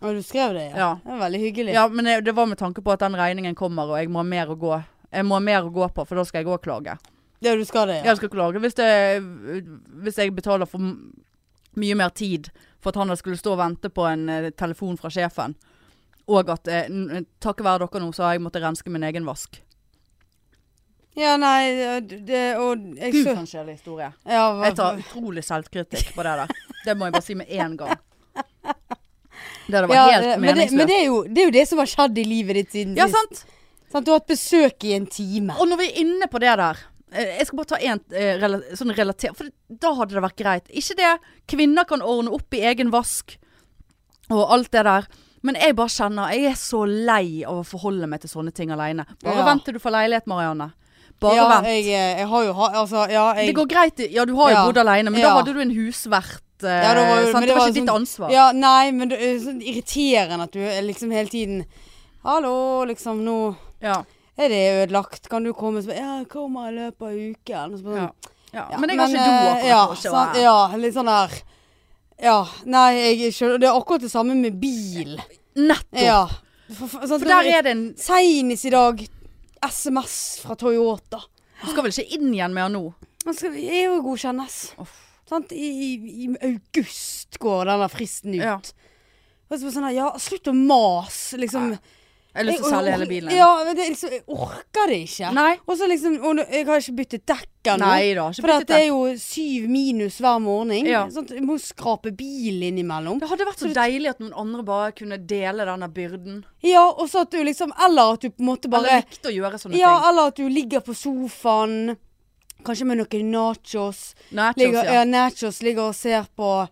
S1: Å, du skrev det, ja.
S2: Ja.
S1: Det var veldig hyggelig.
S2: Ja, men det, det var med tanke på at den regningen kommer, og jeg må ha mer å gå. Jeg må ha mer å gå på, for da skal jeg òg klage.
S1: Ja, du skal det, ja.
S2: Jeg skal klage hvis, det, hvis jeg betaler for m- mye mer tid for at han da skulle stå og vente på en eh, telefon fra sjefen. Og at eh, n- takket være dere nå, så har jeg måttet renske min egen vask.
S1: Ja, nei, det, det- og jeg
S2: Gud,
S1: så
S2: for en kjedelig historie.
S1: ja, hva-
S2: Jeg tar utrolig selvkritikk på det der. Det må jeg bare si med en gang. Det hadde vært
S1: Ja, eh,
S2: helt
S1: men det,
S2: meningsløst.
S1: men det er, jo, det er jo det som har skjedd i livet ditt siden
S2: ja,
S1: sist.
S2: sant?
S1: Sant, du har hatt besøk i en time.
S2: Og når vi er inne på det der eh, Jeg skal bare ta en eh, rela- sånn relater... For da hadde det vært greit. Ikke det. Kvinner kan ordne opp i egen vask og alt det der. Men jeg bare kjenner Jeg er så lei av å forholde meg til sånne ting aleine. Bare
S1: Ja.
S2: vent til du får leilighet, Marianne. Bare
S1: ja,
S2: vent.
S1: jeg, eh, jeg har jo ha, altså, ja, jeg,
S2: Det går greit. i- Ja, du har jo
S1: Ja.
S2: bodd aleine, men da
S1: Ja.
S2: hadde du en husvert. eh,
S1: Ja, da var jo- men
S2: sant?
S1: det
S2: Det var
S1: var
S2: ikke ditt
S1: sånn-
S2: ansvar.
S1: Ja, nei, men det er sånn irriterende at du er liksom hele tiden Hallo, liksom, nå
S2: Ja.
S1: er det ødelagt. Kan du komme? Så, bare, ja, jeg kommer i løpet av uken. Og så bare
S2: Ja.
S1: sånn,
S2: Ja.
S1: ja,
S2: Men jeg har ikke do
S1: eh,
S2: akkurat.
S1: ja,
S2: og ikke-
S1: sant, ja, litt sånn der Ja. Nei, jeg skjønner Det er akkurat det samme med bil.
S2: Nettopp.
S1: Ja. For, for,
S2: For der er det en
S1: Seinest i dag SMS fra Toyota.
S2: Du skal vel ikke inn igjen med han nå?
S1: Man skal er jo godkjennes.
S2: Uff.
S1: Sant? I, i, I august går denne fristen ut.
S2: Ja.
S1: Og så bare sånn der, ja, slutt å mase, liksom.
S2: Jeg har lyst til å selge hele bilen.
S1: Ja, men det, er liksom, jeg orker det ikke.
S2: Nei.
S1: Og så liksom, og nå- jeg har ikke byttet dekk ennå.
S2: Nei da. Ikke
S1: For
S2: byttet
S1: det er
S2: den.
S1: jo syv minus hver morgen.
S2: Ja.
S1: Sånn, at jeg må skrape bilen innimellom.
S2: Det hadde vært så deilig at noen andre bare kunne dele denne byrden.
S1: Ja, og så at du liksom Eller at du på en måte
S2: Bare
S1: bare
S2: likte å gjøre sånne
S1: Ja, eller at du ligger på sofaen, kanskje med noen nachos.
S2: ting. Nachos,
S1: Ligger,
S2: ja.
S1: ja, nachos ligger og ser på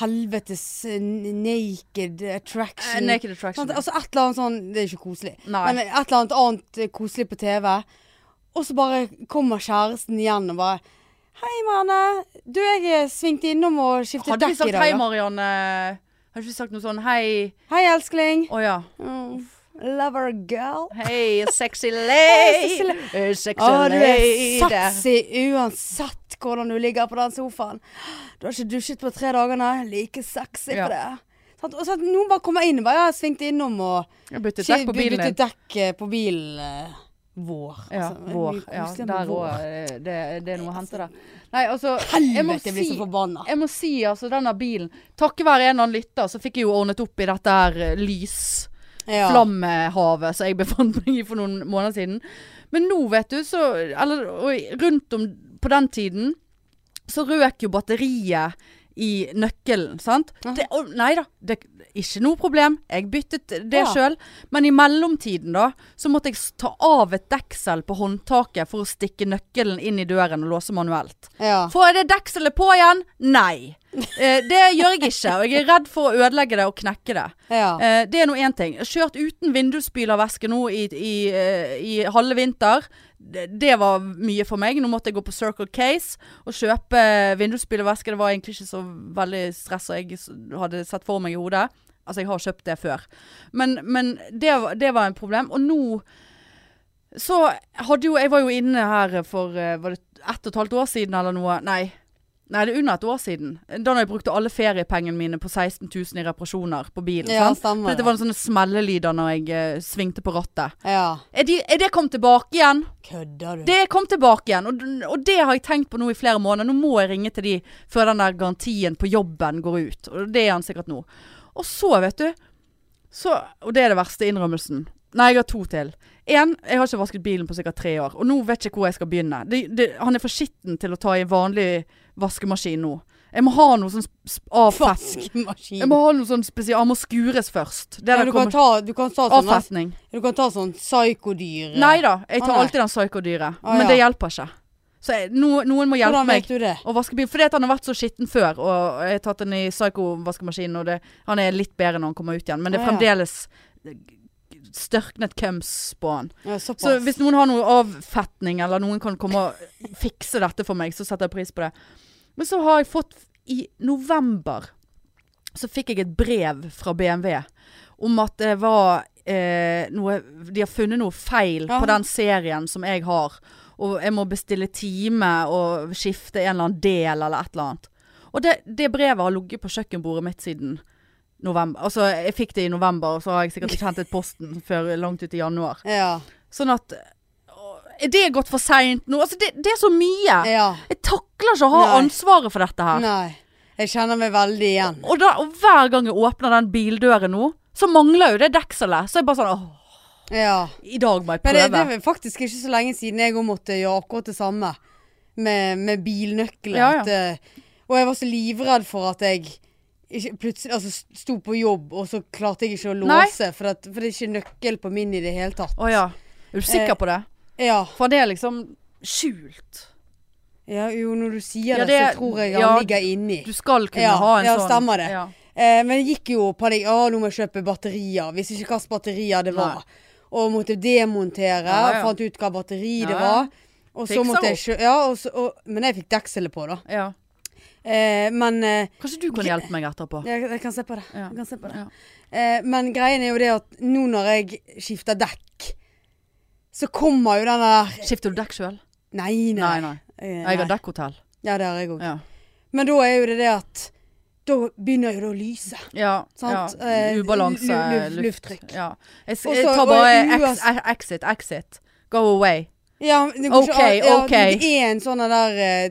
S1: helvetes eh, naked
S2: Eh,
S1: attraction.
S2: Naked Attraction.
S1: Sant? Altså et eller annet sånn Det er ikke koselig.
S2: Nei.
S1: Men et eller annet annet eh, koselig på TV. Og så bare kommer kjæresten igjen og bare Hei, Marianne. Du, jeg svingte innom og skiftet
S2: hadde vi
S1: dekk i
S2: sagt
S1: dag.
S2: hei,
S1: ja.
S2: Marianne Hadde vi sagt noe sånn hei
S1: Hei, elskling.
S2: Å ja.
S1: Mm. Lover girl.
S2: Hei, sexy lady. Eh, Sexy
S1: Å, du er
S2: lady.
S1: sexy uansett hvordan du ligger på den sofaen. Du har ikke dusjet på tre dager, nei. Like sexy
S2: Ja.
S1: på det. Sant? Og så at noen bare kommer inn og bare ja, svingte innom og
S2: Jeg byttet dekk på
S1: Skje-
S2: bilen
S1: byttet
S2: din.
S1: dekk eh, på bilen eh, vår.
S2: Ja,
S1: Altså, det er
S2: vår.
S1: mye
S2: Ja,
S1: koseligere med
S2: der
S1: vår.
S2: òg. Det, det er noe å hente der. Nei, altså jeg må
S1: Helvete, jeg blir
S2: si-
S1: så forbanna.
S2: Jeg må si, altså, denne bilen Takket være en eller annen lytter, så fikk jeg jo ordnet opp i dette her eh, lys
S1: Ja.
S2: flammehavet som jeg befant meg i for noen måneder siden. Men nå, vet du, så Eller og rundt om på den tiden, så røk jo batteriet i nøkkelen, sant?
S1: Aha.
S2: Det, og, nei da, det ikke noe problem. Jeg byttet det
S1: Ja.
S2: sjøl. Men i mellomtiden, da, så måtte jeg s- ta av et deksel på håndtaket for å stikke nøkkelen inn i døren og låse manuelt.
S1: Ja.
S2: Får jeg det dekselet på igjen? Nei. Eh, det gjør jeg ikke. Og jeg er redd for å ødelegge det og knekke det.
S1: Ja.
S2: Eh, det er nå én ting. Jeg har Kjørt uten vindusspylervæske nå i, i, eh, i halve vinter. Det, det var mye for meg. Nå måtte jeg gå på Circle Case og kjøpe vindusspylervæske. Det var egentlig ikke så veldig stress som jeg s- hadde sett for meg i hodet. Altså, jeg har kjøpt det før. Men, men det, var- det var en problem. Og nå så hadde jo Jeg var jo inne her for eh, Var det ett og et halvt år siden eller noe? Nei. Nei, det er under et år siden. Da når jeg brukte alle feriepengene mine på 16 000 i reparasjoner på bilen.
S1: ja,
S2: sant?
S1: stemmer
S2: For det var noen sånne smellelyder når jeg eh, svingte på rattet.
S1: Ja.
S2: Er, de, er det kommet tilbake igjen?
S1: Kødder du?
S2: Det kom tilbake igjen, og, og det har jeg tenkt på nå i flere måneder. Nå må jeg ringe til de før den der garantien på jobben går ut. Og det er han sikkert nå. Og så, vet du så, Og det er det verste innrømmelsen. Nei, jeg har to til. Én, jeg har ikke vasket bilen på sikkert tre år, og nå vet jeg ikke hvor jeg skal begynne. Det, det, han er for skitten til å ta i en vanlig vaskemaskin nå. Jeg må ha noe sånn sp- sp- avfett.
S1: Vaskemaskin.
S2: Jeg må ha noe sånn spesial. Han må skures først. Det
S1: Ja,
S2: der
S1: du, kan
S2: kommer
S1: ta, du kan ta sånn,
S2: Avfetning.
S1: du kan ta sånn psykodyr. eh.
S2: Nei da, jeg
S1: Å,
S2: tar
S1: nei.
S2: alltid den psykodyret.
S1: Å,
S2: Men
S1: ja.
S2: det hjelper ikke. Så jeg, no, noen må hjelpe
S1: Hvordan
S2: meg
S1: vet du det?
S2: å vaske bil. Fordi at han har vært så skitten før, og jeg har tatt den i psyko-vaskemaskinen, og det, han er litt bedre når han kommer ut igjen. Men det er
S1: Å,
S2: fremdeles størknet kums på han.
S1: Ja, såpass.
S2: Så hvis noen har noe avfetning, eller noen kan komme og fikse dette for meg, så setter jeg pris på det. Men så har jeg fått I november så fikk jeg et brev fra BMW om at det var eh, noe De har funnet noe feil
S1: Ja.
S2: på den serien som jeg har. Og jeg må bestille time og skifte en eller annen del eller et eller annet. Og det, det brevet har ligget på kjøkkenbordet mitt siden november. Altså, jeg fikk det i november, og så har jeg sikkert ikke hentet posten før langt ut i januar.
S1: ja.
S2: Sånn at å, Er det gått for seint nå? Altså, det, det er så mye.
S1: ja.
S2: Jeg takler ikke å ha
S1: Nei.
S2: ansvaret for dette her.
S1: Nei. Jeg kjenner meg veldig igjen.
S2: Og, da, og hver gang jeg åpner den bildøren nå, så mangler jo det dekselet. Så jeg bare sånn åh,
S1: Ja.
S2: i dag må jeg
S1: Men det,
S2: prøve.
S1: det er faktisk ikke så lenge siden jeg òg måtte gjøre akkurat det samme med, med bilnøkkelen.
S2: Ja, ja.
S1: At, eh, og jeg var så livredd for at jeg ikke, plutselig altså, st- sto på jobb, og så klarte jeg ikke å
S2: Nei.
S1: låse, for, at, for det er ikke nøkkel på min i det hele tatt.
S2: Å ja. Er du sikker
S1: Eh,
S2: på det?
S1: Ja.
S2: For det er liksom skjult.
S1: ja. Jo, når du sier
S2: Ja,
S1: det,
S2: det-
S1: så tror jeg han
S2: ja,
S1: ligger inni.
S2: Du skal kunne
S1: Ja,
S2: ha en
S1: ja,
S2: sånn.
S1: stemmer det.
S2: Ja.
S1: Eh, men det gikk jo panikk. Å, nå må jeg kjøpe batterier. Visste ikke hvilke batterier det var. Og måtte demontere.
S2: Ja, ja.
S1: Fant ut hva batteri
S2: Ja,
S1: det
S2: ja.
S1: var. Og så
S2: Fiksa
S1: måtte jeg kjø ja, og så, og, Men jeg fikk dekselet på, da.
S2: Ja.
S1: Eh, men eh,
S2: Kanskje du kan hjelpe meg etterpå.
S1: jeg, jeg kan se på det.
S2: Ja.
S1: Jeg kan se på det.
S2: Ja.
S1: Eh, men greien er jo det at nå når jeg skifter dekk, så kommer jo den der
S2: Skifter du dekk sjøl?
S1: Nei, nei.
S2: Nei, nei.
S1: Eh,
S2: Jeg har
S1: nei.
S2: dekkhotell.
S1: Ja, det har jeg òg.
S2: Ja.
S1: Men da er jo det det at Da begynner jo det å lyse.
S2: ja.
S1: Sant?
S2: ja.
S1: Eh,
S2: Ubalanse.
S1: lu- lu-
S2: luft-
S1: lufttrykk.
S2: Ja. Jeg, s-
S1: Og
S2: jeg
S1: så-
S2: tar
S1: og
S2: bare
S1: i
S2: ex,
S1: US-
S2: exit, exit. Go away.
S1: Ja, men det går
S2: Ok,
S1: ikke, an-
S2: ok.
S1: ja, det er en sånn der eh,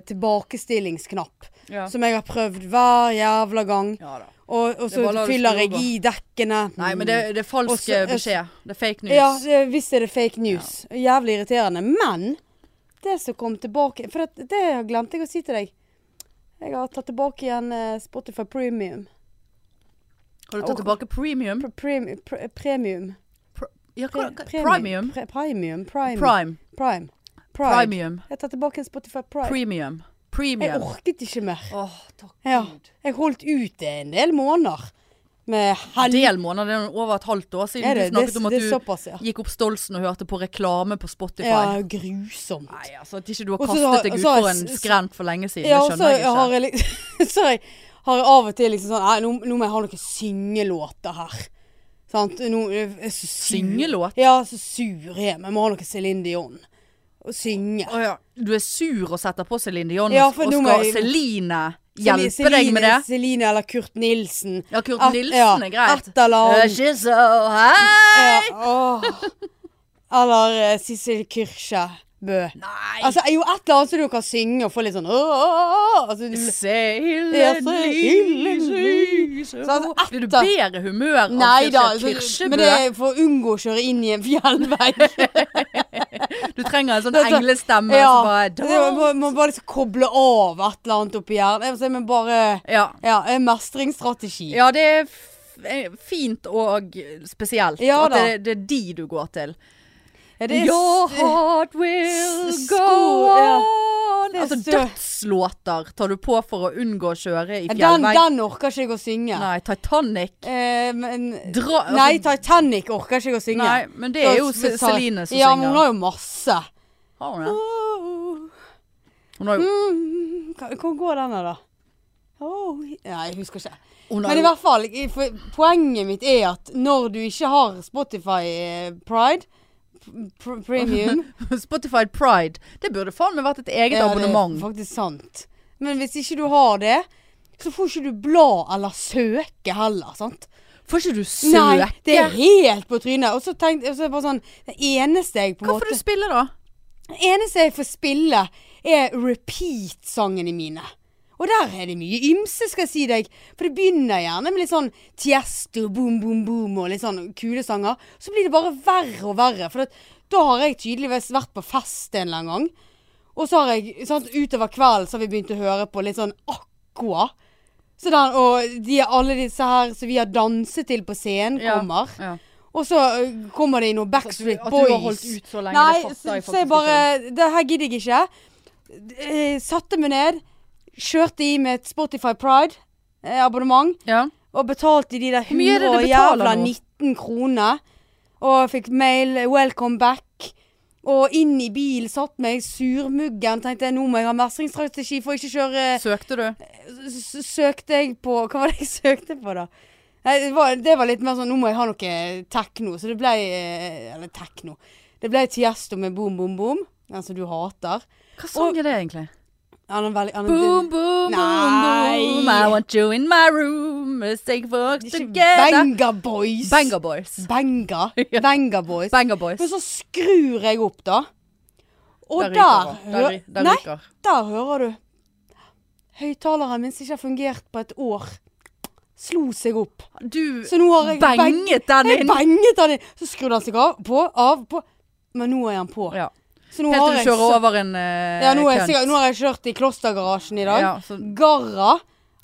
S1: tilbakestillingsknapp
S2: Ja.
S1: som jeg har prøvd hver jævla gang.
S2: ja da.
S1: Og, og
S2: Det er
S1: så
S2: bare å la det
S1: fyller jeg
S2: skru
S1: i dekkene.
S2: Nei, men det, det er falsk
S1: Og så-
S2: eh, beskjed. Det er fake news.
S1: Ja, det, visst er det fake news. Jævlig irriterende. Men det som kom tilbake For det, det glemte jeg å si til deg. Jeg har tatt tilbake igjen eh, Spotify Premium.
S2: Har du tatt
S1: Og-
S2: tilbake premium?
S1: Pre, premi- pre, premium.
S2: Ja, hva,
S1: Pre,
S2: hva,
S1: premium.
S2: premium?
S1: Pre, premium. Prime.
S2: Prime.
S1: Prime. Prime.
S2: Premium.
S1: Jeg tar tilbake en Spotify Prime.
S2: Premium.
S1: Jeg
S2: Premium.
S1: orket ikke mer.
S2: Åh, takk
S1: Ja.
S2: Gud.
S1: Jeg holdt ut det en del måneder. Med
S2: En
S1: helvete.
S2: del måneder, det er over et halvt år siden
S1: Det,
S2: du
S1: det,
S2: snakket om at
S1: det er
S2: du
S1: såpass, ja.
S2: gikk opp Stolsen og hørte på reklame på Spotify.
S1: Ja, grusomt.
S2: Nei, altså at ikke du har
S1: Og så har-
S2: kastet deg
S1: og
S2: ut
S1: så har
S2: for
S1: jeg
S2: en
S1: s-
S2: skrent for lenge siden,
S1: Ja,
S2: det
S1: og så
S2: skjønner jeg
S1: har
S2: ikke.
S1: jeg liksom Så har jeg, har jeg av og til liksom sånn Nei, nå, nå må jeg ha noen syngelåter her. Sant? Nå jeg er så sur.
S2: Syngelåt?
S1: Ja, så sur jeg er. Men jeg må ha noe Céline Dion. Å synge.
S2: Å ja. Du er sur og setter på Celine Dion,
S1: Ja,
S2: og
S1: for
S2: og
S1: nå må
S2: skal
S1: jeg-
S2: Celine hjelpe deg med det?
S1: Celine eller Kurt Nilsen.
S2: Ja, Kurt
S1: Et-
S2: Nilsen er greit.
S1: Et eller
S2: Eh,
S1: annet.
S2: She's so high!
S1: Ja, åh. Eller eh, Sissel Kyrkjebø.
S2: Nei!
S1: Altså, jo, et eller annet som du kan synge og få litt sånn åh, åh, åh. altså, du, Ja,
S2: Seilen
S1: så ilden
S2: lyser
S1: Så at
S2: Blir du
S1: etter-
S2: bedre humør av
S1: Nei da,
S2: Kirse
S1: altså,
S2: Kirsebø?
S1: men det er for å unngå å kjøre inn i en fjellvegg.
S2: Du trenger en sånn
S1: Dette-
S2: englestemme
S1: ja.
S2: som bare
S1: Det er- Man man bare liksom koble av et eller annet oppi hjernen. Jeg vil si, Men bare
S2: ja.
S1: ja, en mestringsstrategi.
S2: ja, det er f- eh, fint og spesielt
S1: Ja
S2: at
S1: da.
S2: det, det er de du går til.
S1: Ja, det er
S2: Your
S1: s-
S2: heart will
S1: s-
S2: go
S1: sko- ja.
S2: on
S1: Det er
S2: Altså
S1: så-
S2: dødslåter tar du på for å unngå å kjøre i
S1: Ja, den,
S2: fjellvegg.
S1: den orker ikke jeg å synge.
S2: Nei, Titanic.
S1: Eh, men
S2: Dra, altså,
S1: Nei, Titanic orker ikke jeg å synge.
S2: nei, men det er jo
S1: Da-
S2: Ce-
S1: tar-
S2: Celine som
S1: Ja, men hun
S2: synger.
S1: har jo masse.
S2: Har hun det?
S1: Oh,
S2: Hun har jo,
S1: mm, hva- Hvor går den her, da? Oh, nei, jeg husker ikke.
S2: hun har
S1: Men i
S2: jo
S1: hvert fall, i- for poenget mitt er at når du ikke har Spotify eh, Pride pr Premium
S2: Spotify Pride. Det burde faen meg vært et eget
S1: Ja, Det er
S2: abonnement.
S1: faktisk sant. Men hvis ikke du har det, så får ikke du bla eller søke heller, sant?
S2: Får ikke du
S1: Nei,
S2: søke?
S1: det er helt på trynet. Og så tenkte og så er det bare sånn Det eneste jeg på en
S2: Hva får
S1: måte
S2: du spille, da?
S1: Det eneste jeg får spille, er repeat-sangene mine. Og der er det mye ymse, skal jeg si deg. For det begynner gjerne med litt sånn Tiesto, boom, boom, boom og litt sånn kule sanger. Så blir det bare verre og verre. For at, da har jeg tydeligvis vært på fest en eller annen gang. Og så har jeg, sant, utover kvelden så har vi begynt å høre på litt sånn Aqua. Så den, og de, alle disse her som vi har danset til på scenen, kommer.
S2: Ja.
S1: Og så øh, kommer det inn noen Backstreet
S2: At du
S1: Boys.
S2: har holdt ut så lenge, det
S1: Nei,
S2: fatter
S1: så,
S2: jeg
S1: så jeg
S2: faktisk
S1: bare Det her gidder jeg ikke. Eh, Satte meg ned, kjørte i med et Spotify Pride-abonnement.
S2: ja.
S1: Og betalte de der
S2: Hvor mye er det
S1: 100
S2: du
S1: og
S2: betaler
S1: jævla
S2: nå?
S1: 19 kroner. Og fikk mail 'welcome back'. Og inn i bilen satt meg surmuggen. Tenkte jeg nå må jeg ha mestringsstrategi for å ikke kjøre
S2: Søkte du?
S1: s- s- søkte jeg på Hva var det jeg søkte på, da? Nei, det var, det var litt mer sånn Nå må jeg ha noe tekno. Så det ble eh, Eller tekno. Det ble Tiesto med Boom Boom Boom. Den som du hater.
S2: Hva sang er det, egentlig?
S1: Han er veldig han er-
S2: Boom, boom, boom, boom.
S1: Nei.
S2: I want you in my room. Let's take a walk
S1: det er ikke
S2: together.
S1: Benga Boys.
S2: Banger Boys.
S1: Benga.
S2: Ja.
S1: Benga Boys.
S2: Banger Boys.
S1: Men så skrur jeg opp, da. Og der,
S2: ryker han. der,
S1: hø-
S2: ry- der
S1: Nei,
S2: ryker.
S1: der hører du. Høyttaleren min som ikke har fungert på et år, slo seg opp. Så
S2: Du
S1: nå har jeg beng-
S2: benget den
S1: Jeg
S2: inn.
S1: banget han inn. Så skrudde han seg av, på, av, på. Men nå er han på.
S2: Ja.
S1: Så nå
S2: Helt til
S1: har
S2: du
S1: jeg,
S2: kjører
S1: så-
S2: over en eh,
S1: ja, nå, er jeg,
S2: kønt.
S1: sikkert- nå har jeg kjørt i klostergarasjen i dag.
S2: Ja, så-
S1: Garra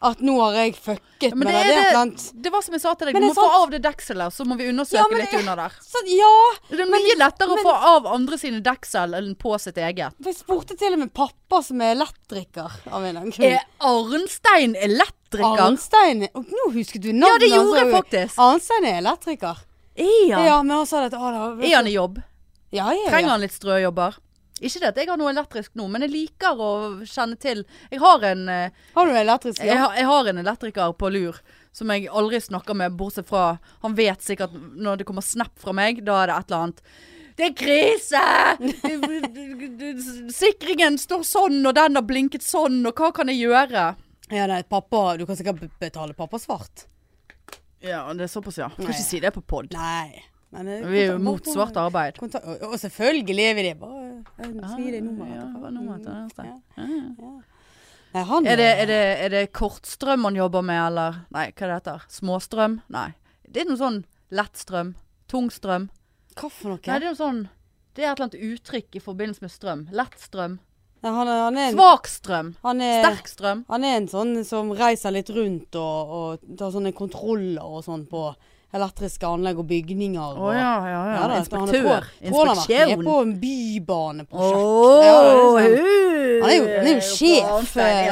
S1: At nå har jeg fucket
S2: Men
S1: med
S2: det
S1: det. Det
S2: er
S1: er et
S2: det-
S1: eller annet
S2: Det var som jeg sa til deg,
S1: Men
S2: du
S1: det
S2: må
S1: er sant.
S2: få av det dekselet, så må vi undersøke
S1: Ja, men
S2: litt
S1: det-
S2: under der.
S1: sånn, Ja!
S2: Det er mye lettere å få av andre sine deksel enn på sitt eget.
S1: Jeg spurte til og med pappa som er elektriker. Av en eller annen grunn.
S2: Er Arnstein elektriker?
S1: Arnstein og Nå husket du navnet
S2: Ja, det
S1: hans
S2: gjorde jeg
S1: også.
S2: faktisk.
S1: Arnstein er elektriker.
S2: Er
S1: Ja,
S2: han?
S1: men han sa det at å, det var-
S2: Er han i jobb?
S1: Ja, ja,
S2: Trenger
S1: ja.
S2: han litt strøjobber? Ikke det at jeg har noe elektrisk nå, men jeg liker å kjenne til Jeg har en, eh,
S1: Har du elektrisk
S2: jeg,
S1: jobb?
S2: har- jeg har en elektriker på lur som jeg aldri snakker med, bortsett fra Han vet sikkert når det kommer snap fra meg, da er det et eller annet det er krise! Sikringen står sånn, og den har blinket sånn, og hva kan jeg gjøre?
S1: Ja, nei, pappa Du kan sikkert be- betale pappa svart.
S2: Ja, det er såpass, ja. Kan
S1: Nei.
S2: ikke si det på pod.
S1: Nei. Men, eh,
S2: Vi er jo
S1: kontak-
S2: mot svart arbeid.
S1: kontak- og, og selvfølgelig er vi det. Bare eh, gi deg nummeret.
S2: Ah, Ja,
S1: etterpå.
S2: nummeret til den neste.
S1: Mm, Ja. Nei, han
S2: Er det, er, det, er det kortstrøm man jobber med, eller? Nei, hva det heter? Småstrøm? Nei. Det er noe sånn lettstrøm. Tungstrøm.
S1: Hva for noe?
S2: Nei, det er noe sånn Det er et eller annet uttrykk i forbindelse med strøm. Lettstrøm.
S1: Nei, han, er- han er en, Eh.
S2: Svak strøm.
S1: han er,
S2: Sterk strøm.
S1: Han er en sånn som reiser litt rundt og, og tar sånne kontroller og sånn på elektriske anlegg og bygninger. Og,
S2: ja,
S1: Ja da, så han er på-
S2: Inspektør.
S1: tror han har vært med på en bybaneprosjekt. Ja, det er Han er jo, han er jo sjef. eh, Ja,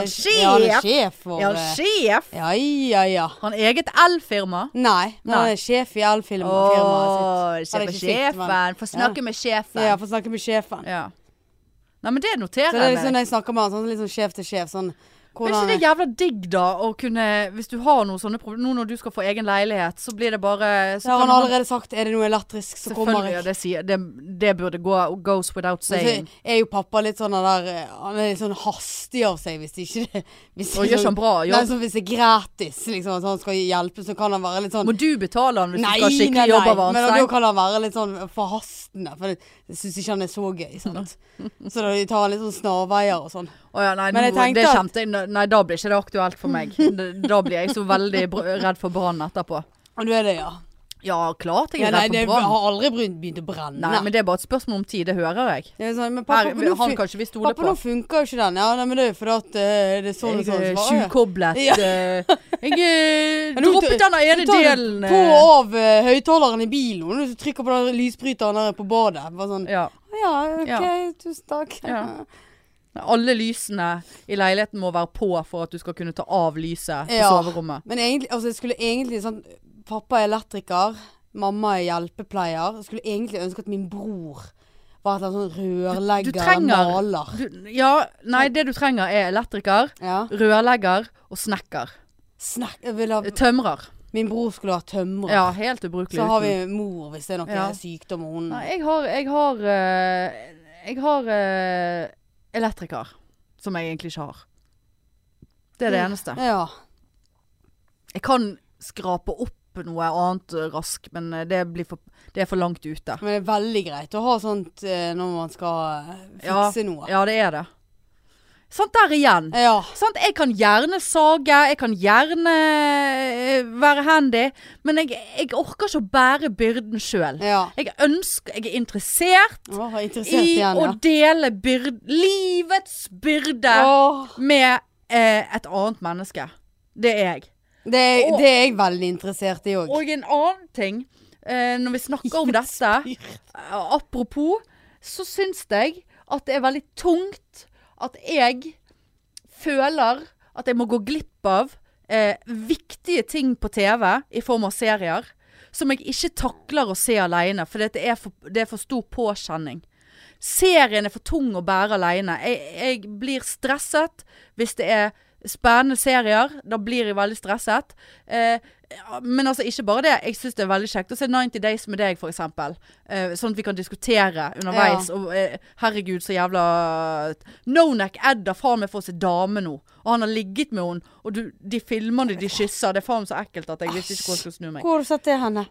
S1: han er sjef. Og,
S2: Ja,
S1: eh,
S2: sjef.
S1: ja, ja, ja.
S2: Han har eget elfirma.
S1: Nei, men han
S2: Nei.
S1: er sjef i elfilmfirmaet sitt.
S2: Åh,
S1: Eller
S2: se på
S1: ikke sitt, men-
S2: sjefen. Få snakke med sjefen.
S1: Ja, for å snakke med sjefen.
S2: Ja. Nei, men det
S1: Så
S2: noterer
S1: det er
S2: jeg
S1: liksom
S2: meg.
S1: når jeg snakker med han, sånn litt sånn sjef til sjef, sånn
S2: Men
S1: hvordan
S2: ikke det er jævla digg da å kunne Hvis du har noen sånne problemer Nå når du skal få egen leilighet, så blir det bare så
S1: Ja, han
S2: kan
S1: har
S2: man-
S1: allerede sagt 'er det noe elektrisk, så kommer jeg'.
S2: Selvfølgelig, ja, det, sier, det, det burde gå goes without
S1: Men
S2: saying.
S1: så er jo pappa litt sånn han der eh, Han er litt sånn hastig av seg hvis det ikke det hvis
S2: Og gjør ikke han bra
S1: Nei,
S2: jobb?
S1: sånn hvis det er gratis, liksom, at han skal hjelpe, så kan han være litt sånn
S2: Må du betale han hvis
S1: Nei,
S2: du
S1: nei,
S2: skal ha
S1: nei,
S2: skikkelig jobb av
S1: men da da
S2: Arnstein?
S1: kan han være litt sånn forhastende, for det- jeg syns ikke han er så gøy. Sant? Så da tar han litt sånn snarveier og sånn.
S2: Å ja, nei,
S1: Men
S2: nå,
S1: jeg tenkte
S2: det
S1: at-
S2: kjente jeg Nei, da blir ikke det aktuelt for meg. Det- Da blir jeg så veldig br- redd for brann etterpå.
S1: Og du er det, ja.
S2: Ja, klart jeg
S1: ja
S2: er
S1: nei,
S2: redd
S1: det
S2: for
S1: jeg
S2: brann.
S1: har aldri begynt, begynt å brenne.
S2: Nei, men det er bare et spørsmål om tid. Det hører jeg.
S1: det er sånn, men pappa,
S2: Her,
S1: nå,
S2: han
S1: fun-
S2: kan ikke vi stole
S1: pappa nå
S2: på.
S1: funker jo ikke den. Ja, nei, men det er jo fordi at eh, det er sånn og
S2: Jeg
S1: sånn.
S2: er
S1: Så bare, ja.
S2: sjukoblet.
S1: Ja.
S2: eh, Jeg eh,
S1: Men nå
S2: droppet
S1: tar-
S2: den
S1: Du
S2: ene
S1: tar
S2: delen.
S1: På
S2: eh,
S1: og av eh, høyttaleren i bilen, og du trykker på den lysbryteren der på badet. Bare sånn
S2: Ja.
S1: Ja, OK,
S2: Ja.
S1: tusen takk.
S2: Ja. Alle lysene i leiligheten må være på for at du skal kunne ta av lyset på
S1: Ja.
S2: soverommet.
S1: Men egentlig, altså, jeg skulle egentlig sånn Pappa er elektriker, mamma er hjelpepleier. Jeg skulle egentlig ønske at min bror var et eller annet sånn
S2: Du
S1: rørlegger,
S2: trenger-
S1: maler.
S2: Du, ja, nei, det du trenger er elektriker,
S1: Ja.
S2: rørlegger og snekker.
S1: Snakk jeg vil ha,
S2: Tømrer.
S1: Min bror skulle være tømrer.
S2: Ja, helt ubrukelig.
S1: Så har vi
S2: uten.
S1: mor, hvis det er noe
S2: Ja.
S1: sykdom og hun
S2: Nei, jeg har Jeg har, eh, jeg har eh, elektriker, som jeg egentlig ikke har. Det
S1: Mm.
S2: er det eneste.
S1: Ja.
S2: Jeg kan skrape opp noe annet eh, rask, men eh, det, blir for, det er for langt ute.
S1: Men det er veldig greit å ha sånt eh, når man skal eh,
S2: Ja.
S1: fikse noe.
S2: Ja, det er det. Sant der igjen.
S1: Ja.
S2: Sant? Jeg kan gjerne sage, jeg kan gjerne eh, være handy, men jeg, jeg orker ikke å bære byrden sjøl.
S1: ja.
S2: Jeg ønsker, jeg er interessert
S1: Å, jeg er interessert
S2: i
S1: igjen,
S2: å
S1: ja.
S2: dele byrd, livets byrde
S1: Åh,
S2: med eh, et annet menneske. Det er jeg.
S1: det, er,
S2: Åh.
S1: det er jeg veldig interessert i òg.
S2: Og en annen ting, eh, når vi snakker om dette, eh, apropos, så syns jeg at det er veldig tungt at jeg føler at jeg må gå glipp av eh, viktige ting på TV i form av serier som jeg ikke takler å se alene, for det er for, det er for stor påkjenning. Serien er for tung å bære alene. Jeg, jeg blir stresset hvis det er spennende serier. Da blir jeg veldig stresset. Eh, men altså, ikke bare det. Jeg syns det er veldig kjekt å se 90 Days med deg, f.eks. Eh, sånn at vi kan diskutere underveis. Og eh, herregud, så jævla Nonak Ed har faen meg fått seg dame nå. Og han har ligget med henne. Og du, de filmene de kysser, det er faen meg så ekkelt at jeg visste ikke hvor jeg skulle snu meg
S1: Hvor har du sett det henne?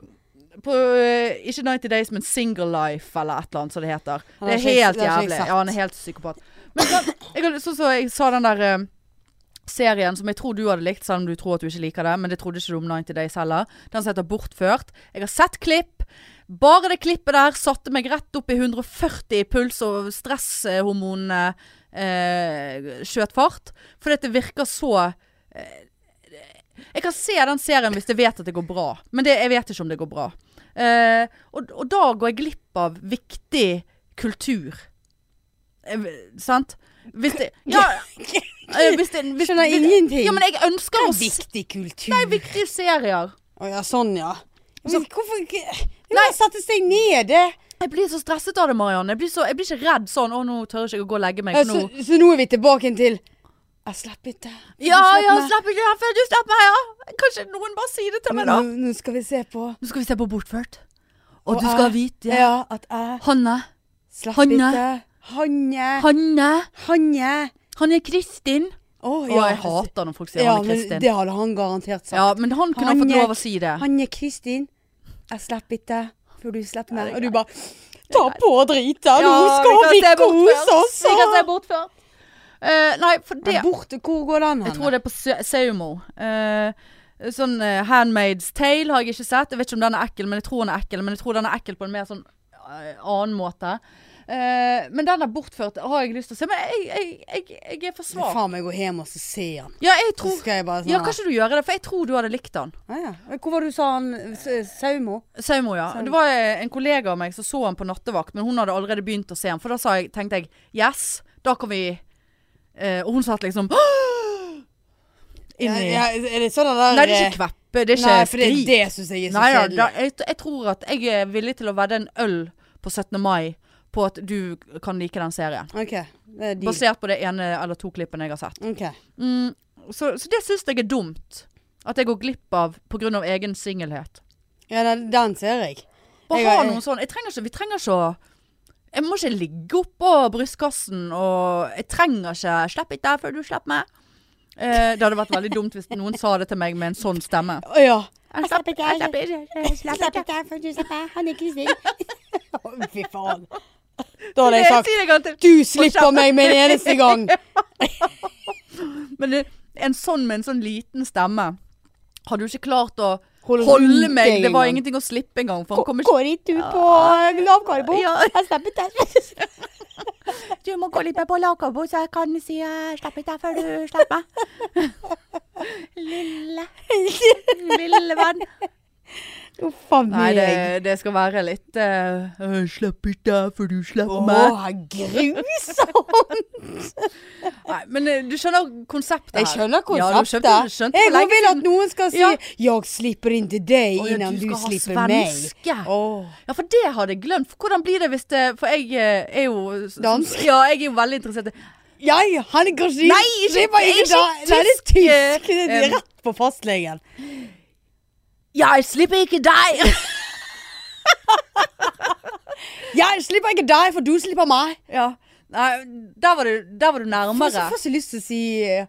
S2: på, eh, ikke 90 Days, men Single Life eller et eller annet som det heter.
S1: har
S2: Det er
S1: ikke-
S2: helt
S1: det har ikke jeg
S2: jævlig.
S1: sett.
S2: Ja, han er helt psykopat. Men sånn jeg, har- sånn som jeg sa den der eh, serien som jeg tror du hadde likt, selv om du tror at du ikke liker det, men det trodde ikke du om 90 Days heller. Den som heter Bortført. Jeg har sett klipp. Bare det klippet der satte meg rett opp i 140 i puls, og stresshormonene eh, skjøt fart. Fordi at det virker så eh, Jeg kan se den serien hvis jeg vet at det går bra, men det, jeg vet ikke om det går bra. Eh, og, og da går jeg glipp av viktig kultur. Eh, sant? Hvis det Ja! eh, Hvis det, hvis,
S1: Skjønner
S2: hvis-
S1: ingenting.
S2: Ja, men jeg ønsker å
S1: er
S2: se
S1: viktig kultur.
S2: Nei, viktige serier.
S1: Å ja, sånn ja. Men hvorfor ikke Det
S2: Nei.
S1: må sette seg ned, det.
S2: Jeg blir så stresset av det, Marianne. Jeg blir, så, jeg blir ikke redd sånn 'Å, nå tør jeg ikke å gå og legge meg'.
S1: Ja,
S2: for
S1: så,
S2: nå
S1: så nå er vi tilbake igjen til Jeg slapp ikke.
S2: Ja,
S1: Slapp
S2: ja,
S1: meg.
S2: slapp ikke herfra. Du slapp meg, ja. Kanskje noen bare sier det til
S1: Men
S2: meg, da.
S1: nå, nå skal vi se på
S2: Nå skal vi se på Bortført. Og,
S1: Og
S2: du skal
S1: jeg-
S2: vite
S1: Ja, at jeg
S2: Hanne.
S1: slapp
S2: Hanne.
S1: ikke. Hanne.
S2: Hanne.
S1: Hanne.
S2: Han er Kristin.
S1: Å
S2: Å,
S1: ja.
S2: jeg hater når folk sier
S1: ja,
S2: han er
S1: men
S2: Kristin.
S1: det hadde han garantert sagt.
S2: ja, men han kunne ha
S1: Han
S2: fått
S1: er-
S2: lov å si det.
S1: Hanne Kristin, jeg slapp ikke før du slapp meg.
S2: det er
S1: Og du bare Ta på og drite, nå
S2: Ja,
S1: skal vi
S2: se
S1: kose
S2: Bortført.
S1: oss!
S2: Vi kan se Bortført. Eh, nei, for det
S1: Men borte, hvor går den
S2: Jeg tror det er på Se- Seumo. Eh, sånn eh, Handmaid's Tale har jeg ikke sett. Jeg vet ikke om den er ekkel, men jeg tror den er ekkel. Men jeg tror den er ekkel på en mer sånn eh, annen måte. Eh, men den er bortført, har jeg lyst til å se. Men jeg, jeg, jeg, jeg er
S1: Det
S2: for
S1: er
S2: svak.
S1: faen meg gå hjem og så se han.
S2: Ja, jeg
S1: Så
S2: tror
S1: skal jeg bare sånn
S2: Ja, kan ikke du gjøre det? For jeg tror du hadde likt den.
S1: ah, ja. Men Hvor var det du sa han S- Saumo?
S2: Saumo, ja.
S1: Saumo.
S2: Det var eh, en kollega av meg som så han på nattevakt, men hun hadde allerede begynt å se han. For da sa jeg, tenkte jeg yes, da kan vi eh, Og hun satt liksom
S1: Ja,
S2: inni
S1: ja, er det sånn at der
S2: Nei, det er ikke kveppe. Det er ikke
S1: Nei, for det,
S2: skrik.
S1: det syns jeg er så
S2: Nei, ja,
S1: kjedelig.
S2: da, jeg, jeg tror at jeg er villig til å vedde en øl på 17. mai på at du kan like den serien.
S1: OK. Det er de.
S2: Basert på det ene eller to klippene jeg har sett.
S1: Ok.
S2: Mm, så, så det syns jeg er dumt. At jeg går glipp av pga. egen singelhet.
S1: Ja, den, den ser jeg. Jeg
S2: Bare
S1: har-
S2: ha noe sånn. Jeg trenger ikke, vi trenger ikke å Jeg må ikke ligge oppå brystkassen og Jeg trenger ikke 'Slipp ikke der før du slipper meg'. Eh, det hadde vært veldig dumt hvis noen sa det til meg med en sånn stemme.
S1: Å ja.
S2: Jeg
S3: slapp ikke, jeg-
S2: slipper ikke, jeg slipper
S3: Slapp
S2: ikke.
S3: ikke av, for du slapp av. Han er Kristin.
S2: Oh,
S1: Å, Fy faen. Da hadde jeg sagt
S2: Si det en gang til.
S1: Du slipper meg med en eneste gang!
S2: Men det, en sånn med en sånn liten stemme Hadde jo ikke klart å
S1: Holde
S2: holde
S1: rundt
S2: meg.
S1: deg
S2: Det var
S1: engang.
S2: ingenting å slippe engang. For han kom ikke
S3: Går ikke du på lavkarbo?
S2: Ja.
S3: Jeg slapp ikke av.
S2: Du må gå litt mer på lavkarbo, så jeg kan si eh, 'slapp ikke av før du slipper meg'. Lille Lille venn.
S1: Uff a
S2: Nei, det,
S1: meg.
S2: det skal være litt eh, 'Slapp ikke av før du
S1: Å,
S2: slipper meg'.
S1: grusomt!
S2: Nei, men eh, du skjønner konseptet her.
S1: Jeg skjønner
S2: Ja, du
S1: konseptet.
S2: skjønte, du skjønte
S1: jeg
S2: for
S1: bare
S2: lenge
S1: vil at
S2: siden.
S1: noen skal si
S2: Ja.
S1: 'jeg slipper inn til deg'
S2: Å, ja,
S1: innan
S2: du
S1: du,
S2: skal ha
S1: slipper
S2: svenske.
S1: meg. Åh.
S2: Ja, for det hadde jeg glemt. Hvordan blir det hvis det For jeg eh, er jo s-
S1: Dansk.
S2: Ja, jeg er jo veldig interessert i
S1: Jeg, han er kanskje
S2: Nei, ikke-
S1: Det var
S2: ikke
S1: da- Nei, det er
S2: tysk, eh,
S1: tysk. Det er
S2: em.
S1: rett på fastlegen.
S2: Jeg slipper ikke deg!
S1: Jeg slipper ikke deg, for du slipper meg.
S2: ja. Nei, der var du, der var du
S1: Jeg får så
S2: nærmere.
S1: får så lyst til å si eh,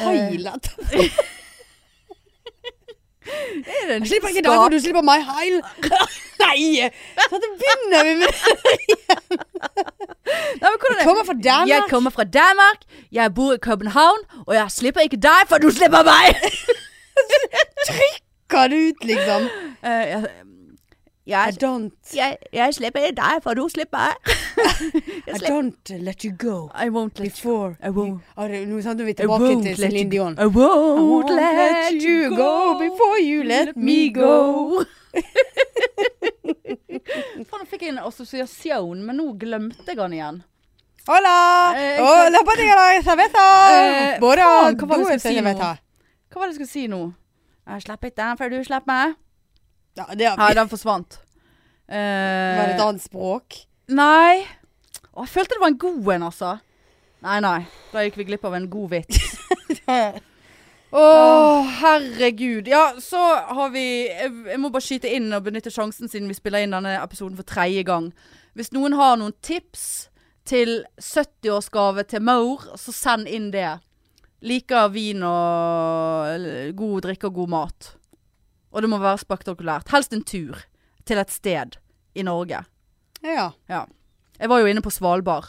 S1: Heil etterpå. Jeg slipper ikke deg, for du slipper meg. Heil. Nei! Så det begynner vi med.
S2: Nei, men hvordan er-
S1: Kommer fra Danmark.
S2: Jeg kommer fra Danmark, jeg bor i København, og jeg slipper ikke deg, for du slipper meg!
S1: Hva det ut, liksom?
S2: Eh, jeg,
S1: I
S2: jeg,
S1: don't,
S2: jeg, jeg slipper ikke deg, for du slipper meg.
S1: I don't let you go
S2: I won't let you
S1: before
S2: I won't.
S1: Å, det- Nå sant, nå er vi
S2: I
S1: tilbake
S2: won't
S1: til
S2: let you
S1: Céline Dion.
S2: I won't let you go before
S1: you
S2: let me go. Faen, nå fikk jeg en assosiasjon, men nå glemte jeg den igjen.
S1: Hola!
S2: Eh,
S1: Å,
S2: ikke-
S1: la patica la cerveza!
S2: Eh,
S1: Både
S2: faen, hva var det
S1: do
S2: jeg
S1: og
S2: skulle si nå?
S1: cerveza.
S2: Hva var det jeg skulle si nå? Jeg slipper ikke den før du slipper meg.
S1: Ja, det er-
S2: Nei, den forsvant.
S1: var det et
S2: Eh,
S1: annet språk.
S2: nei. Å, jeg følte det var en god en, altså. Nei, nei. Da gikk vi glipp av en god vits. Eh. Å, herregud. Ja, så har vi jeg, jeg må bare skyte inn og benytte sjansen siden vi spiller inn denne episoden for tredje gang. Hvis noen har noen tips til 70-årsgave til Maur, så send inn det. Liker vin og eller, god drikke og god mat. Og det må være spektakulært. Helst en tur til et sted i Norge.
S1: Ja.
S2: Ja. Jeg var jo inne på Svalbard.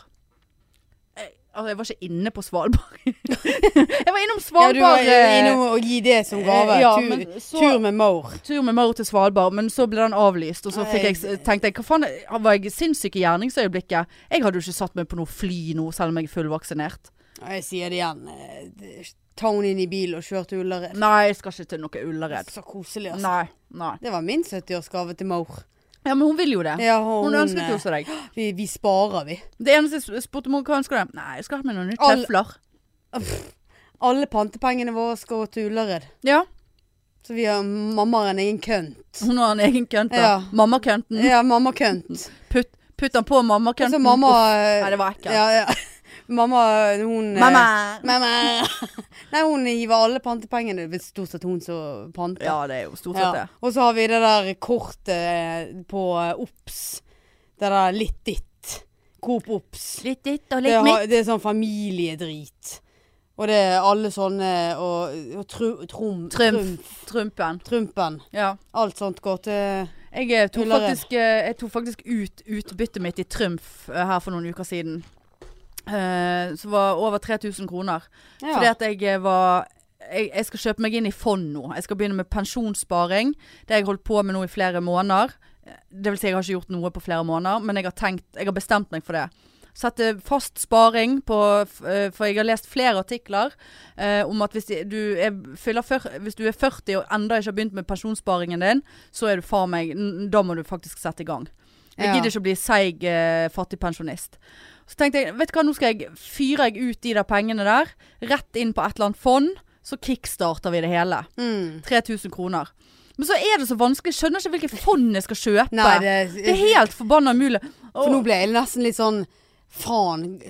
S2: Jeg, altså, jeg var ikke inne på Svalbard. jeg var innom
S1: ja, du var
S2: Svalbard. eh,
S1: innom å gi det som gave.
S2: eh, ja,
S1: tur,
S2: men så-
S1: tur med maur.
S2: tur med Maur til Svalbard, men så ble den avlyst. Og så fikk jeg, tenkte jeg hva faen, var jeg sinnssyk i gjerningsøyeblikket? Jeg hadde jo ikke satt meg på noe fly nå, selv om jeg er fullvaksinert.
S1: Ja, Jeg sier det igjen. eh, det- Ta henne inn i bil og kjør til Ullared.
S2: Nei, jeg skal ikke til noe Ullared.
S1: Så koselig, altså.
S2: Nei. nei.
S1: Det var min 70-årsgave til mor.
S2: Ja, men hun vil jo det.
S1: Ja, og
S2: Hun ønsket
S1: eh,
S2: jo også deg.
S1: Vi, vi sparer, vi.
S2: Det eneste jeg spurte mor hva ønsker du? Nei, jeg skal ha med noen nye
S1: Alle-
S2: tøfler.
S1: Alle pantepengene våre skal til Ullared.
S2: Ja,
S1: Så vi har mamma har en egen kønt.
S2: hun har en egen kønt da.
S1: Ja.
S2: Mammakønten.
S1: Ja, mamma kønt.
S2: Putt, putt den på
S1: Og så
S2: mammakønten.
S1: mamma eh,
S2: Nei, det var ekkelt.
S1: Ja, ja. Mamma, hun eh,
S2: Mamma!
S1: Mamma. Nei, hun gir alle pantepengene. Det er stort sett hun som panter.
S2: Ja, det er jo stort
S1: Ja.
S2: sett det.
S1: Og så har vi det der kortet eh, på OBS. Det der litt ditt. Coop OBS.
S2: Litt ditt og
S1: Det, har- det er sånn familiedrit. Og det er alle sånne og, og tru, trum,
S2: Trumf. Trumpen.
S1: trum- Trumpen.
S2: Ja.
S1: Alt sånt går til
S2: Jeg eh, tok
S1: Ullared.
S2: faktisk, eh, jeg tok faktisk ut utbyttet mitt i Trumf eh, her for noen uker siden. Eh, Som var over 3000 kroner.
S1: ja.
S2: Fordi at jeg eh, var jeg, jeg skal kjøpe meg inn i fond nå. Jeg skal begynne med pensjonssparing. Det har jeg holdt på med nå i flere måneder. Eh, Det vil si jeg har ikke gjort noe på flere måneder, men jeg har, tenkt, jeg har bestemt meg for det. Sette fast sparing på f- eh, For jeg har lest flere artikler eh, om at hvis de- du, er, fyller fyr- hvis du er 40 og enda ikke har begynt med pensjonssparingen din, så er du far meg n- Da må du faktisk sette i gang. Jeg
S1: Ja.
S2: gidder ikke å bli seig eh, fattig pensjonist. Så tenkte jeg, vet du hva, nå skal jeg fyre jeg ut de der pengene der, rett inn på et eller annet fond, så kickstarter vi det hele.
S1: mm.
S2: 3000 kroner. Men så er det så vanskelig, jeg skjønner ikke hvilke fond jeg skal kjøpe.
S1: Nei,
S2: det,
S1: det,
S2: er helt forbanna umulig.
S1: For nå ble jeg nesten litt sånn Faen,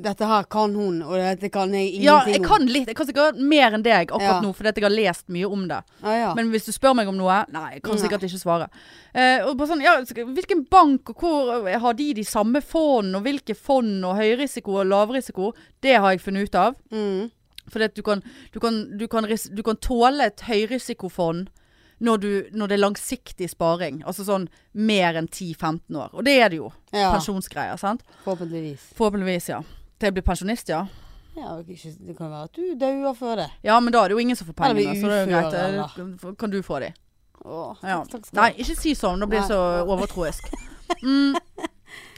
S1: dette her kan hun, og dette kan jeg ingenting
S2: ja, jeg kan litt. Jeg kan sikkert mer enn deg akkurat
S1: Ja.
S2: nå, fordi at jeg har lest mye om det.
S1: om. Ah, ja.
S2: Men hvis du spør meg om noe Nei, jeg kan
S1: Nei.
S2: sikkert ikke svare. Eh, og bare sånn, ja, sk- Hvilken bank og hvor eh, har de de samme fond, og hvilke fond og høyrisiko og lavrisiko? Det har jeg funnet ut av.
S1: mm.
S2: Fordi at du kan, du kan, du kan, ris du kan tåle et høyrisikofond når, du, når det er langsiktig sparing. Altså sånn mer enn 10-15 år. Og det er det jo.
S1: ja.
S2: Pensjonsgreier, sant?
S1: Forhåpentligvis.
S2: Forhåpentligvis, ja. Til jeg blir pensjonist, ja.
S1: Ja, og ikke, det kan være at du dauer før det.
S2: Ja, men da er det jo ingen som får
S1: Eller blir
S2: pengene. Så det er
S1: ufør,
S2: jo greit. Eh, Kan du få de?
S1: Åh,
S2: Ja.
S1: takk, takk skal du ha.
S2: Nei, ikke si sånn. Da blir jeg så
S1: Nei.
S2: overtroisk. Mm.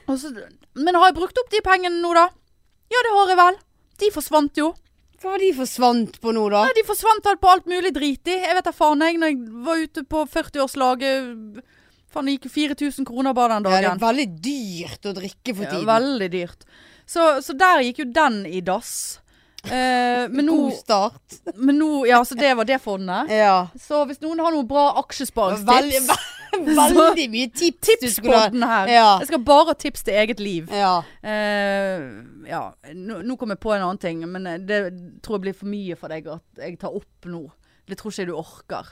S2: Og så- men har jeg brukt opp de pengene nå, da? Ja, det har jeg vel. De forsvant jo.
S1: Hva var de forsvant på nå, da?
S2: Nei, de forsvant alt på alt mulig drit i. Jeg vet da faen jeg, når jeg var ute på 40-årslaget Faen, det gikk jo 4000 kroner bare den
S1: Ja, det er
S2: dagen.
S1: veldig dyrt å drikke for
S2: Ja,
S1: tiden.
S2: veldig dyrt. Så, så der gikk jo den i dass. Eh, men, nå,
S1: God start.
S2: men nå Ja, så det var det fondet.
S1: Ja.
S2: Så hvis noen har noen bra
S1: Veldig,
S2: aksjesparingstips
S1: veldig mye tips, du
S2: på
S1: skulle ha.
S2: den her.
S1: Ja.
S2: Jeg skal bare ha tips til eget liv.
S1: ja.
S2: Eh, ja, nå, nå kom jeg på en annen ting, men eh, det tror jeg blir for mye for deg at jeg tar opp nå. Det tror ikke jeg du orker.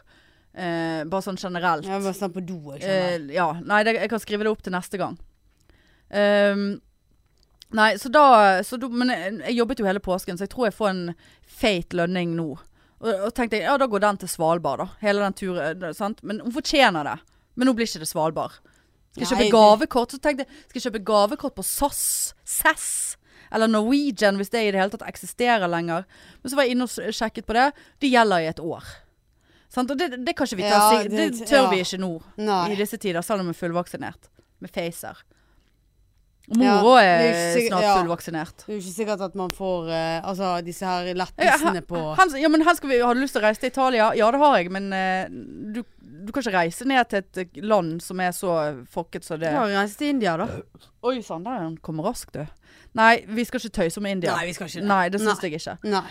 S2: Eh, bare sånn generelt.
S1: Jeg var snart på do, jeg
S2: Eh,
S1: skjønner.
S2: ja. Nei, det, jeg kan skrive det opp til neste gang. Ehm, nei, så da, så da Men jeg, jeg jobbet jo hele påsken, så jeg tror jeg får en feit lønning nå. Og, og tenkte jeg, ja da går den til Svalbard, da. Hele den turen. eh, Sant? Men hun fortjener det. Men nå blir ikke det Svalbard. Skal jeg
S1: Nei,
S2: kjøpe
S1: det-
S2: gavekort, så tenkte jeg skal jeg kjøpe gavekort på SAS. SAS. Eller Norwegian, hvis det i det hele tatt eksisterer lenger. Men så var jeg inne og s- sjekket på det. Det gjelder i et år. Sant? Og det, det kan ikke vi ta
S1: Ja,
S2: sik- Det,
S1: det-
S2: tør
S1: ja.
S2: vi ikke nå i
S1: Nei.
S2: disse tider, selv om hun er fullvaksinert med Pfizer. Og
S1: Ja,
S2: Mor òg
S1: det
S2: er
S1: er ikke sikkert-
S2: snart
S1: ja.
S2: fullvaksinert.
S1: Det er jo ikke sikkert at man får eh, altså, disse her
S2: Ja,
S1: lettelsene
S2: han,
S1: på
S2: han, ja, men han skal vi, har du lyst til å reise til Italia? Ja, det har jeg, men eh, du, du kan ikke reise ned til et eh, land som er så fokket som det
S1: Ja, reise til India, da.
S2: Oi sann, der han kommer raskt, du. Nei, vi skal ikke tøyse om India.
S1: Nei, vi skal ikke det.
S2: Nei, det syns jeg ikke.
S1: Nei.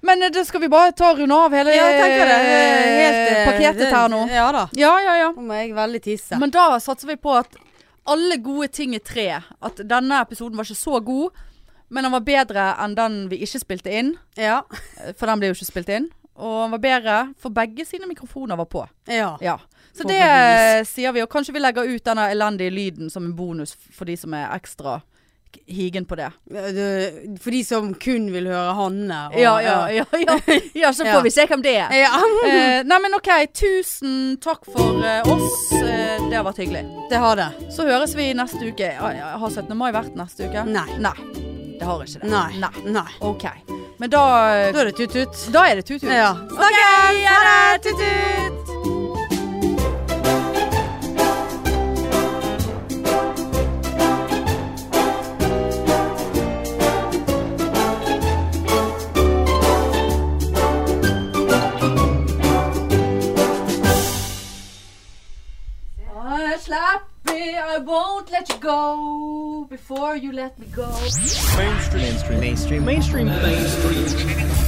S2: Men eh, da skal vi bare ta og runde av hele
S1: Ja, jeg tenker det.
S2: eh,
S1: Helt eh,
S2: paketet
S1: det-
S2: her nå.
S1: Ja da.
S2: Ja, ja, ja.
S1: Nå må jeg veldig tisse.
S2: Men da satser vi på at alle gode ting er tre. At denne episoden var ikke så god, men den var bedre enn den vi ikke spilte inn.
S1: Ja.
S2: Eh, For den ble jo ikke spilt inn. Og den var bedre, for begge sine mikrofoner var på.
S1: ja. Eh,
S2: Ja. Så det
S1: Forhåpentligvis.
S2: sier vi. Og kanskje vi legger ut denne elendige lyden som en bonus for de som er ekstra k- higen på det.
S1: Du- For de som kun vil høre Hanne. og-
S2: Ja, ja, ja. ja. ja så
S1: Ja.
S2: får vi se hvem det er.
S1: ja.
S2: Eh, nei, men OK. Tusen takk for eh, oss. Eh, det har vært hyggelig.
S1: Det har det.
S2: Så høres vi neste uke. Ja, ja, Har 17. mai vært neste uke?
S1: Nei.
S2: Det har ikke det.
S1: Nei.
S2: Nei.
S1: Nei.
S2: OK. Men da
S1: Da er det tut-tut.
S2: Da er det tut-tut.
S1: Ja.
S2: OK, ha det! Tut-tut! I won't let you go before you let me go.
S4: Mainstream. Mainstream. Mainstream. Mainstream. Mainstream.